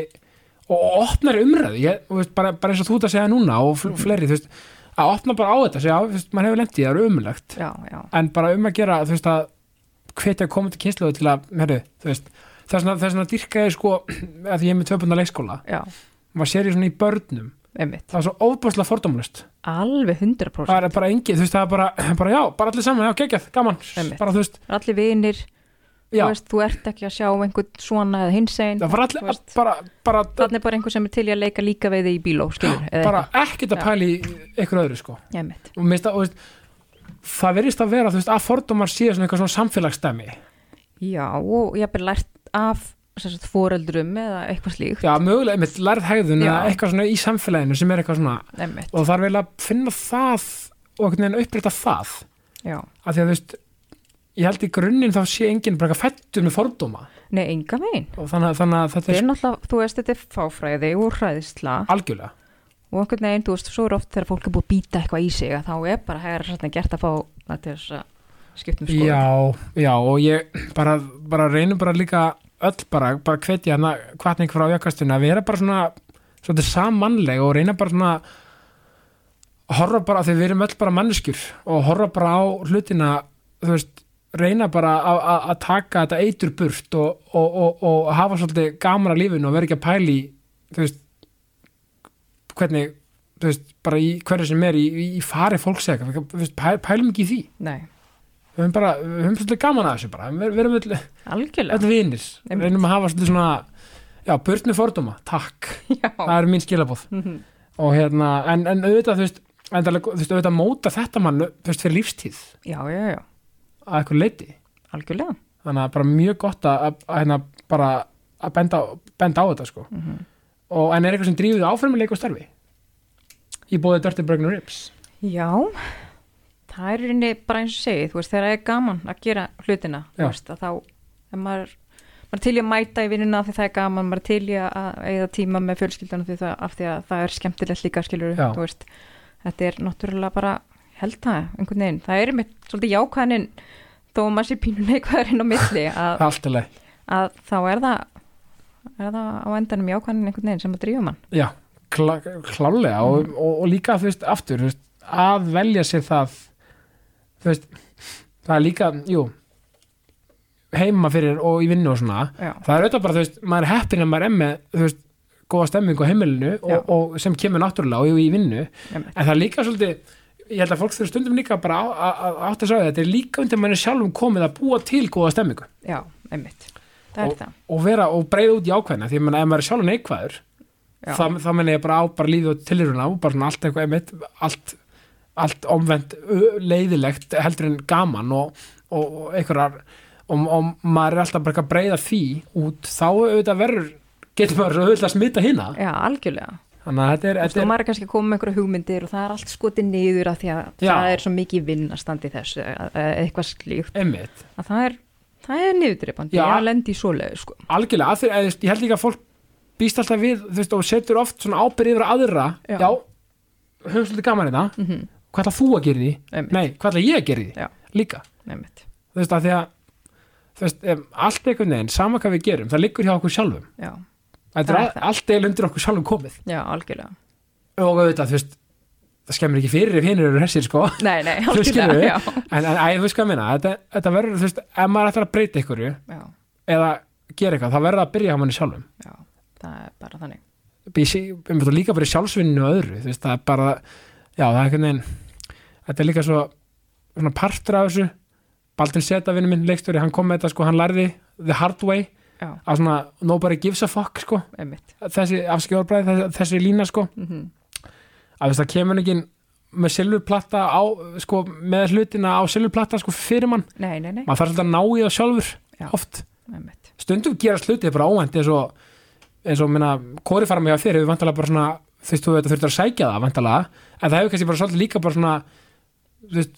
A: og opnari umræðu ég, þú veist, bara, bara eins og þú ert að segja núna og fl fleiri þú veist, að opna bara á þetta segja, já, þú veist, maður hefur lent í það eru umlegt
C: já, já,
A: en bara um að gera þú veist að hvetja komandi kynsluðu til að heru, þú veist það er svona, það er svona dyrkaði sko að ég er með tvöbundar leikskóla
C: já,
A: maður sér í svona í börnum
C: einmitt,
A: það er svo ofbúrslega fordómlust
C: alveg 100%,
A: það er bara engi þú veist það er bara, bara já, bara allir saman já, geggjað, gaman
C: Einmitt.
A: bara þú veist
C: allir vinir,
A: Já.
C: þú veist, þú ert ekki að sjá einhvern svona eða hinsegin
A: það var
C: Þú
A: allir
C: veist.
A: bara, bara,
C: þannig er bara einhver sem er til í að leika líka veiði í bíló skilur, eða
A: bara
C: eitthvað,
A: ekkert að
C: Já.
A: pæli einhverju öðru sko
C: ég mitt
A: og, mér finnst það, og veist, það verðist að vera þú veist, að fordómar séu svona eitthvað svona samfélagsdæmi
C: já, og ég hef bara lært af sem sagt, foreldrum eða eitthvað slíkt
A: já, mögulega, einmitt lærð hegðun eða
C: Já.
A: eitthvað svona í samfélaginu sem er eitthvað svona
C: einmitt,
A: og það er vel að finna það og einhvern veginn uppbreyta það
C: já,
A: af því að þú veist ég held í grunninn þá sé enginn bara eitthvað fættur með fordóma
C: nei, enga veginn
A: og þannig, að- þannig að þetta
C: þetta
A: er
C: er náttúrulega, þú veist, þetta er fáfræði og hræðisla
A: algjörlega
C: og einhvern veginn, þú veist, svo er oft þegar fólk er búið að býta eitthvað í sig að þá er bara hægara sérna gert að fá það til þess að skiptum skoðun
A: Já, já og ég bara, bara reynum bara líka öll bara, bara hvetja hana hvatning frá jakastinu að vera bara svona svolítið samanleg og reyna bara svona horfa bara því við erum öll bara manneskjur og horfa bara á hlutina þú veist, reyna bara að- að að taka þetta eitur burt og, og, og, og hafa svolítið gamara lífinu og vera ekki að pæli þú veist hvernig, þú veist, bara í hverju sem er í, í, í fari fólksega þú veist, pæ- pælum ekki í því
C: Nei,
A: við höfum bara, við höfum svolítið gaman að þessu bara við verum öll,
C: algjörlega
A: öll vinnir
C: Einmitt.
A: reynum að hafa svolítið svona já, burt með fordóma, takk það
C: Já,
A: er mín skilabóð
C: Mhm.
A: og hérna, en, en auðvitað þú veist, endalega, þú veist, auðvitað móta þetta mann þú veist, fyrir lífstíð
C: já, já, já,
A: að eitthvað leiti
C: algjörlega
A: þannig að bara mjög gott að, að, að hérna bara að benda, á- benda á þetta sko
C: Mhm.
A: og en er eitthvað sem drífið áfram í leik og starfi í bóði Dirty Burger Rips
C: Já, það er í rauninni bara eins og segið, þú veist, þegar það er gaman að gera hlutina,
A: Já.
C: þú veist, að þá ef maður, maður er til í að mæta í vinnuna af því það er gaman, maður er til í að eigða tíma með fjölskyldan af því það, af því að það er skemmtilegt líka skilur,
A: Já.
C: þú veist þetta er náttúrulega bara held það, einhvern veginn, það er mitt svolítið jákvæðanin þó að maður sé pínu neikvæðarinn á milli að,
A: það er allt í leið,
C: að þá er það er það á endanum jákvæðanin einhvern veginn sem að drífa mann
A: já, klá, klálega
C: Mm.
A: og, og, og líka þú veist, aftur þú veist, að velja sér það þú veist, það er líka jú, heima fyrir og í vinnu og svona
C: Já,
A: það er auðvitað bara, þú veist, maður er heppin að maður er með, þú veist, góða stemming á heimilinu
C: Já.
A: og, og sem kemur náttúrulega og í vinnu,
C: Einmitt.
A: en það er líka svolítið ég held að fólk þurfa stundum líka bara á- að- að átt að sagði þetta er líka undir manni sjálfum komið að búa til góða stemmingu
C: já, einmitt það er það,
A: og vera og breyða út í ákveðna því að man, ef maður er sjálfum neikvæður
C: já,
A: það, það menna ég bara á bara lífið og tiluruna og bara svona allt eitthvað einmitt allt, allt omvend ö, leiðilegt heldur en gaman og, og, og einhverjar og, og maður er alltaf bara eitthvað að breyða því út þá auðvitað verður getur maður svo auðvitað að smita hina
C: já, algjörlega
A: þannig að þetta er,
C: Þú
A: þetta er
C: maður er kannski að koma með einhverja hugmyndir og það er allt skotið niður af því að
A: Já.
C: það er svo mikið vinn að standa í þessu eða eða eitthvað slíkt
A: einmitt
C: að það er, það er niðurdreipandi
A: Já.
C: að lendi í svoleiðu sko.
A: algjörlega, að því, að, þú veist, ég held líka að fólk býst alltaf við þú veist, og setur oft svona ábyrð yfir á aðra
C: Já.
A: höfum svolítið gaman í það
C: mm -hmm.
A: hvað ætla þú að gera í því?
C: einmitt,
A: Mhm. Nei, hvað ætla ég að gera í því?
C: Já.
A: Líka
C: einmitt,
A: þú veist að því að þú veist, um, allt einhvern veginn, sama hvað við gerum það liggur hjá okkur sjálfum
C: já,
A: þetta
C: Það
A: er
C: er
A: al-
C: það.
A: allt eil undir okkur sjálfum komið
C: já, algjörlega
A: og auðvitað, þú veist, það skemmir ekki fyrir ef hinir eru hessir sko en,
C: Nei, nei,
A: Þú skilur
C: algjörlega
A: við?
C: já,
A: en æ, þú veist hvað ég meina, þetta, þetta verður þú veist, ef maður ætlar að breyta ykkur
C: já,
A: eða gera eitthvað, það verður það að byrja á manni sjálfum
C: já, það er bara þannig
A: ég sé, um þetta líka bara í sjálfsvinnu og öðru þú veist, það er bara, já, það er einhvern veginn þetta er líka svo svona partur af þessu Baldin Seta, vinnu minn, leikstjóri, hann kom með þetta sko, hann lærði the hard way,
C: Já,
A: að svona nobody gives a fuck, sko
C: einmitt
A: þessi afskjóðarbræði, þessi, þessi lína sko
C: mm
A: að þess að kemur ekki með silfurplata á, sko, með hlutina á silfurplata sko fyrir mann,
C: Nei, nei, nei,
A: maður þarf svolítið að ná í það sjálfur
C: Já.
A: oft,
C: einmitt
A: stundum gerast hlutið bara óvænt eins og, eins og minna, kóri fara mig á þér, hefur vantalega bara svona þú veist, þú veit að þurftur að sækja það vantalega en það hefur kannski bara svolítið líka bara svona þú veist,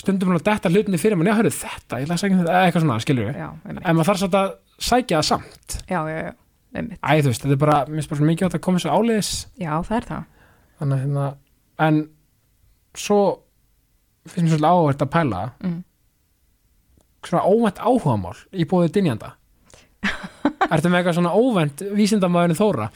A: stundum bara að detta hlutinni fyrir mann, já, hörðu þetta, ég ætla að sækja um þetta eða eitthvað svona, skilur
C: Já, einmitt,
A: en maður þarf svolítið að sækja það samt
C: já, já, já, einmitt
A: Æ, þú veist, þetta er bara, mér spyrir mikið átt að koma svo áleiðis
C: Já, það er það
A: þannig að hérna en svo finnst mér svolítið áhvert að pæla
C: Mm.
A: svona óvænt áhugamál í bóðið dynjanda ertu með eitthvað svona óvænt vísindamæðinu Þóra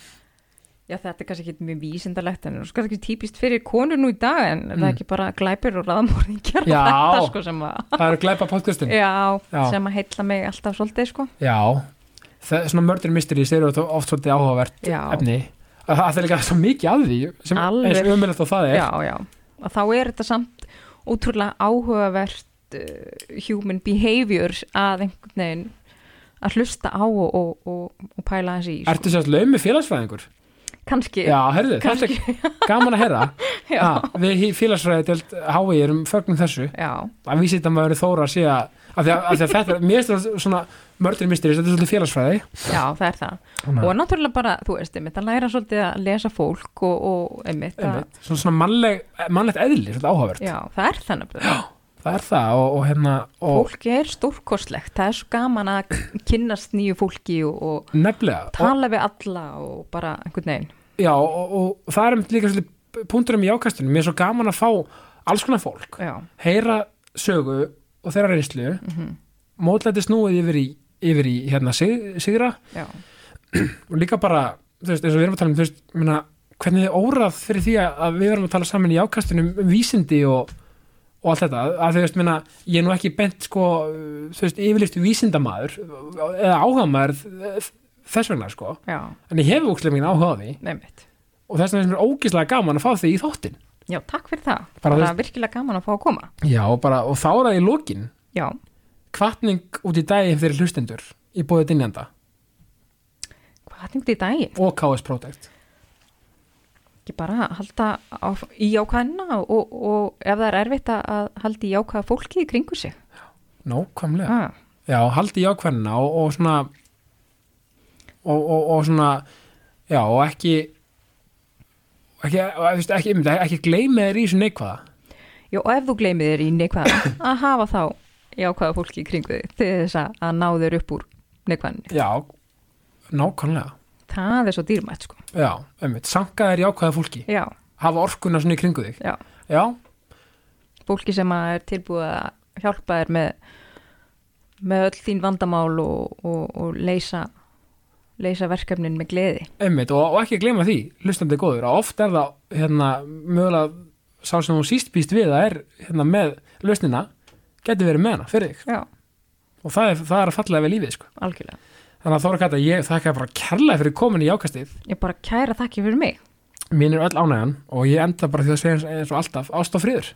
C: Já, þetta er kannski ekki mjög vísindalegt en það er svo kannski típist fyrir konur nú í dag en mm. það
A: Mm.
C: er ekki bara glæpir og raðmórðingar
A: Já.
C: þetta sko sem að
A: það eru glæpa podcastin
C: já,
A: Já.
C: sem að heilla mig alltaf svolítið sko
A: já, það, svona mördur mysteries eru oft- oft svolítið áhugavert
C: Já,
A: efni að það það er líka svo mikið að því sem
C: Alveg.
A: eins og umjöld og það er
C: já, já og þá er þetta samt ótrúlega áhugavert uh, human behaviors að einhvern veginn að hlusta á og, og, og, og pæla þessi í sko.
A: Ertu sérst laumi félagsfræðingur?
C: kannski,
A: Já, herðu, þetta
C: kannski
A: er gaman að herra
C: já,
A: ah, Við í félagsfræði delt háið erum fögnum þessu
C: já,
A: að vísita maður Þóra sé að af því að, af því að þetta, mér er þetta svona mördur mysteris, þetta er svolítið félagsfræði
C: já, það er það
A: Ah.
C: og náttúrulega bara, þú veist, einmitt að læra svolítið að lesa fólk og, og einmitt, að,
A: Einmitt, svona, svona mannleg, mannlegt eðli, svolítið áhugavert
C: já, það er það nefnilega
A: það er það og, og hérna og
C: fólki er stórkostlegt, það er svo gaman að kynnast nýju fólki og, og
A: nefnilega og,
C: tala við alla og bara einhvern veginn
A: já, og, og það er einmitt líka svolítið punkturum í ákastunum, mér er svo gaman að fá alls konar fólk,
C: já,
A: heyra sögu og þeirra reynslu mm
C: Mhm.
A: mótlæti snúið yfir í, yfir í hérna sig, sigra
C: já,
A: og líka bara, þú veist, eins og við erum að tala um þú veist, minna, hvernig þið órað fyrir því að að við erum að tala saman í ákastunum um vísindi og, og allt þetta að þú veist, minna, ég er nú ekki bent sko, þú veist, yfirleitt vísindamaður eða áhugamaður þess vegna, sko,
C: já,
A: en ég hef úkslega mikið áhuga á því
C: einmitt
A: og þess vegna er mér ógislega gaman að fá því í þóttin
C: já, takk fyrir það,
A: Bara
C: bara,
A: þú veist-
C: virkilega gaman að fá að koma
A: Já, og bara, og þá er það í lokin
C: já,
A: kvartning út í daginn fyrir hlustendur í bóðið dinjanda
C: hvað hengdi í daginn?
A: og KS Project
C: ekki bara að halda á, í jákvæðina og, og ef það er erfitt að- að halda í jákvæða fólki í kringu sig
A: Nókvæmlega
C: ah,
A: Já, haldi í ákveðnina og, og svona og, og, og svona já, og ekki ekki, og, þú veist, ekki, einmitt, ekki gleyma þér í þessu neikvaða
C: já, og ef þú gleymið þér í neikvæðan að hafa þá jákvæða fólki í kringu þig til þess að- að ná þér upp úr neikvæðinni,
A: Já, nákvæmlega
C: það er svo dýrmætt sko,
A: Já, einmitt, sanka þér í ákveða fólki
C: já,
A: hafa orkuna svona í kringu þig
C: já
A: Já,
C: fólki sem að er tilbúið að hjálpa þér með, með öll þín vandamál og, og, og leysa, leysa verkefnin með gleði.
A: einmitt, og, og ekki gleyma því hlustandi góður, að oft er það hérna, mögulega sá sem hún síst býst við að er hérna, með lausnina getur verið með hana fyrir þig
C: Já,
A: og það er, það er að falla við lífið sko.
C: algjörlega.
A: þannig að Þóra Kata, ég þakka bara kærlega fyrir komin í ákastið
C: Ég bara kæra þakki fyrir mig.
A: Mín er öll ánægjan og ég enda bara því að segja eins, eins og alltaf ást og friður.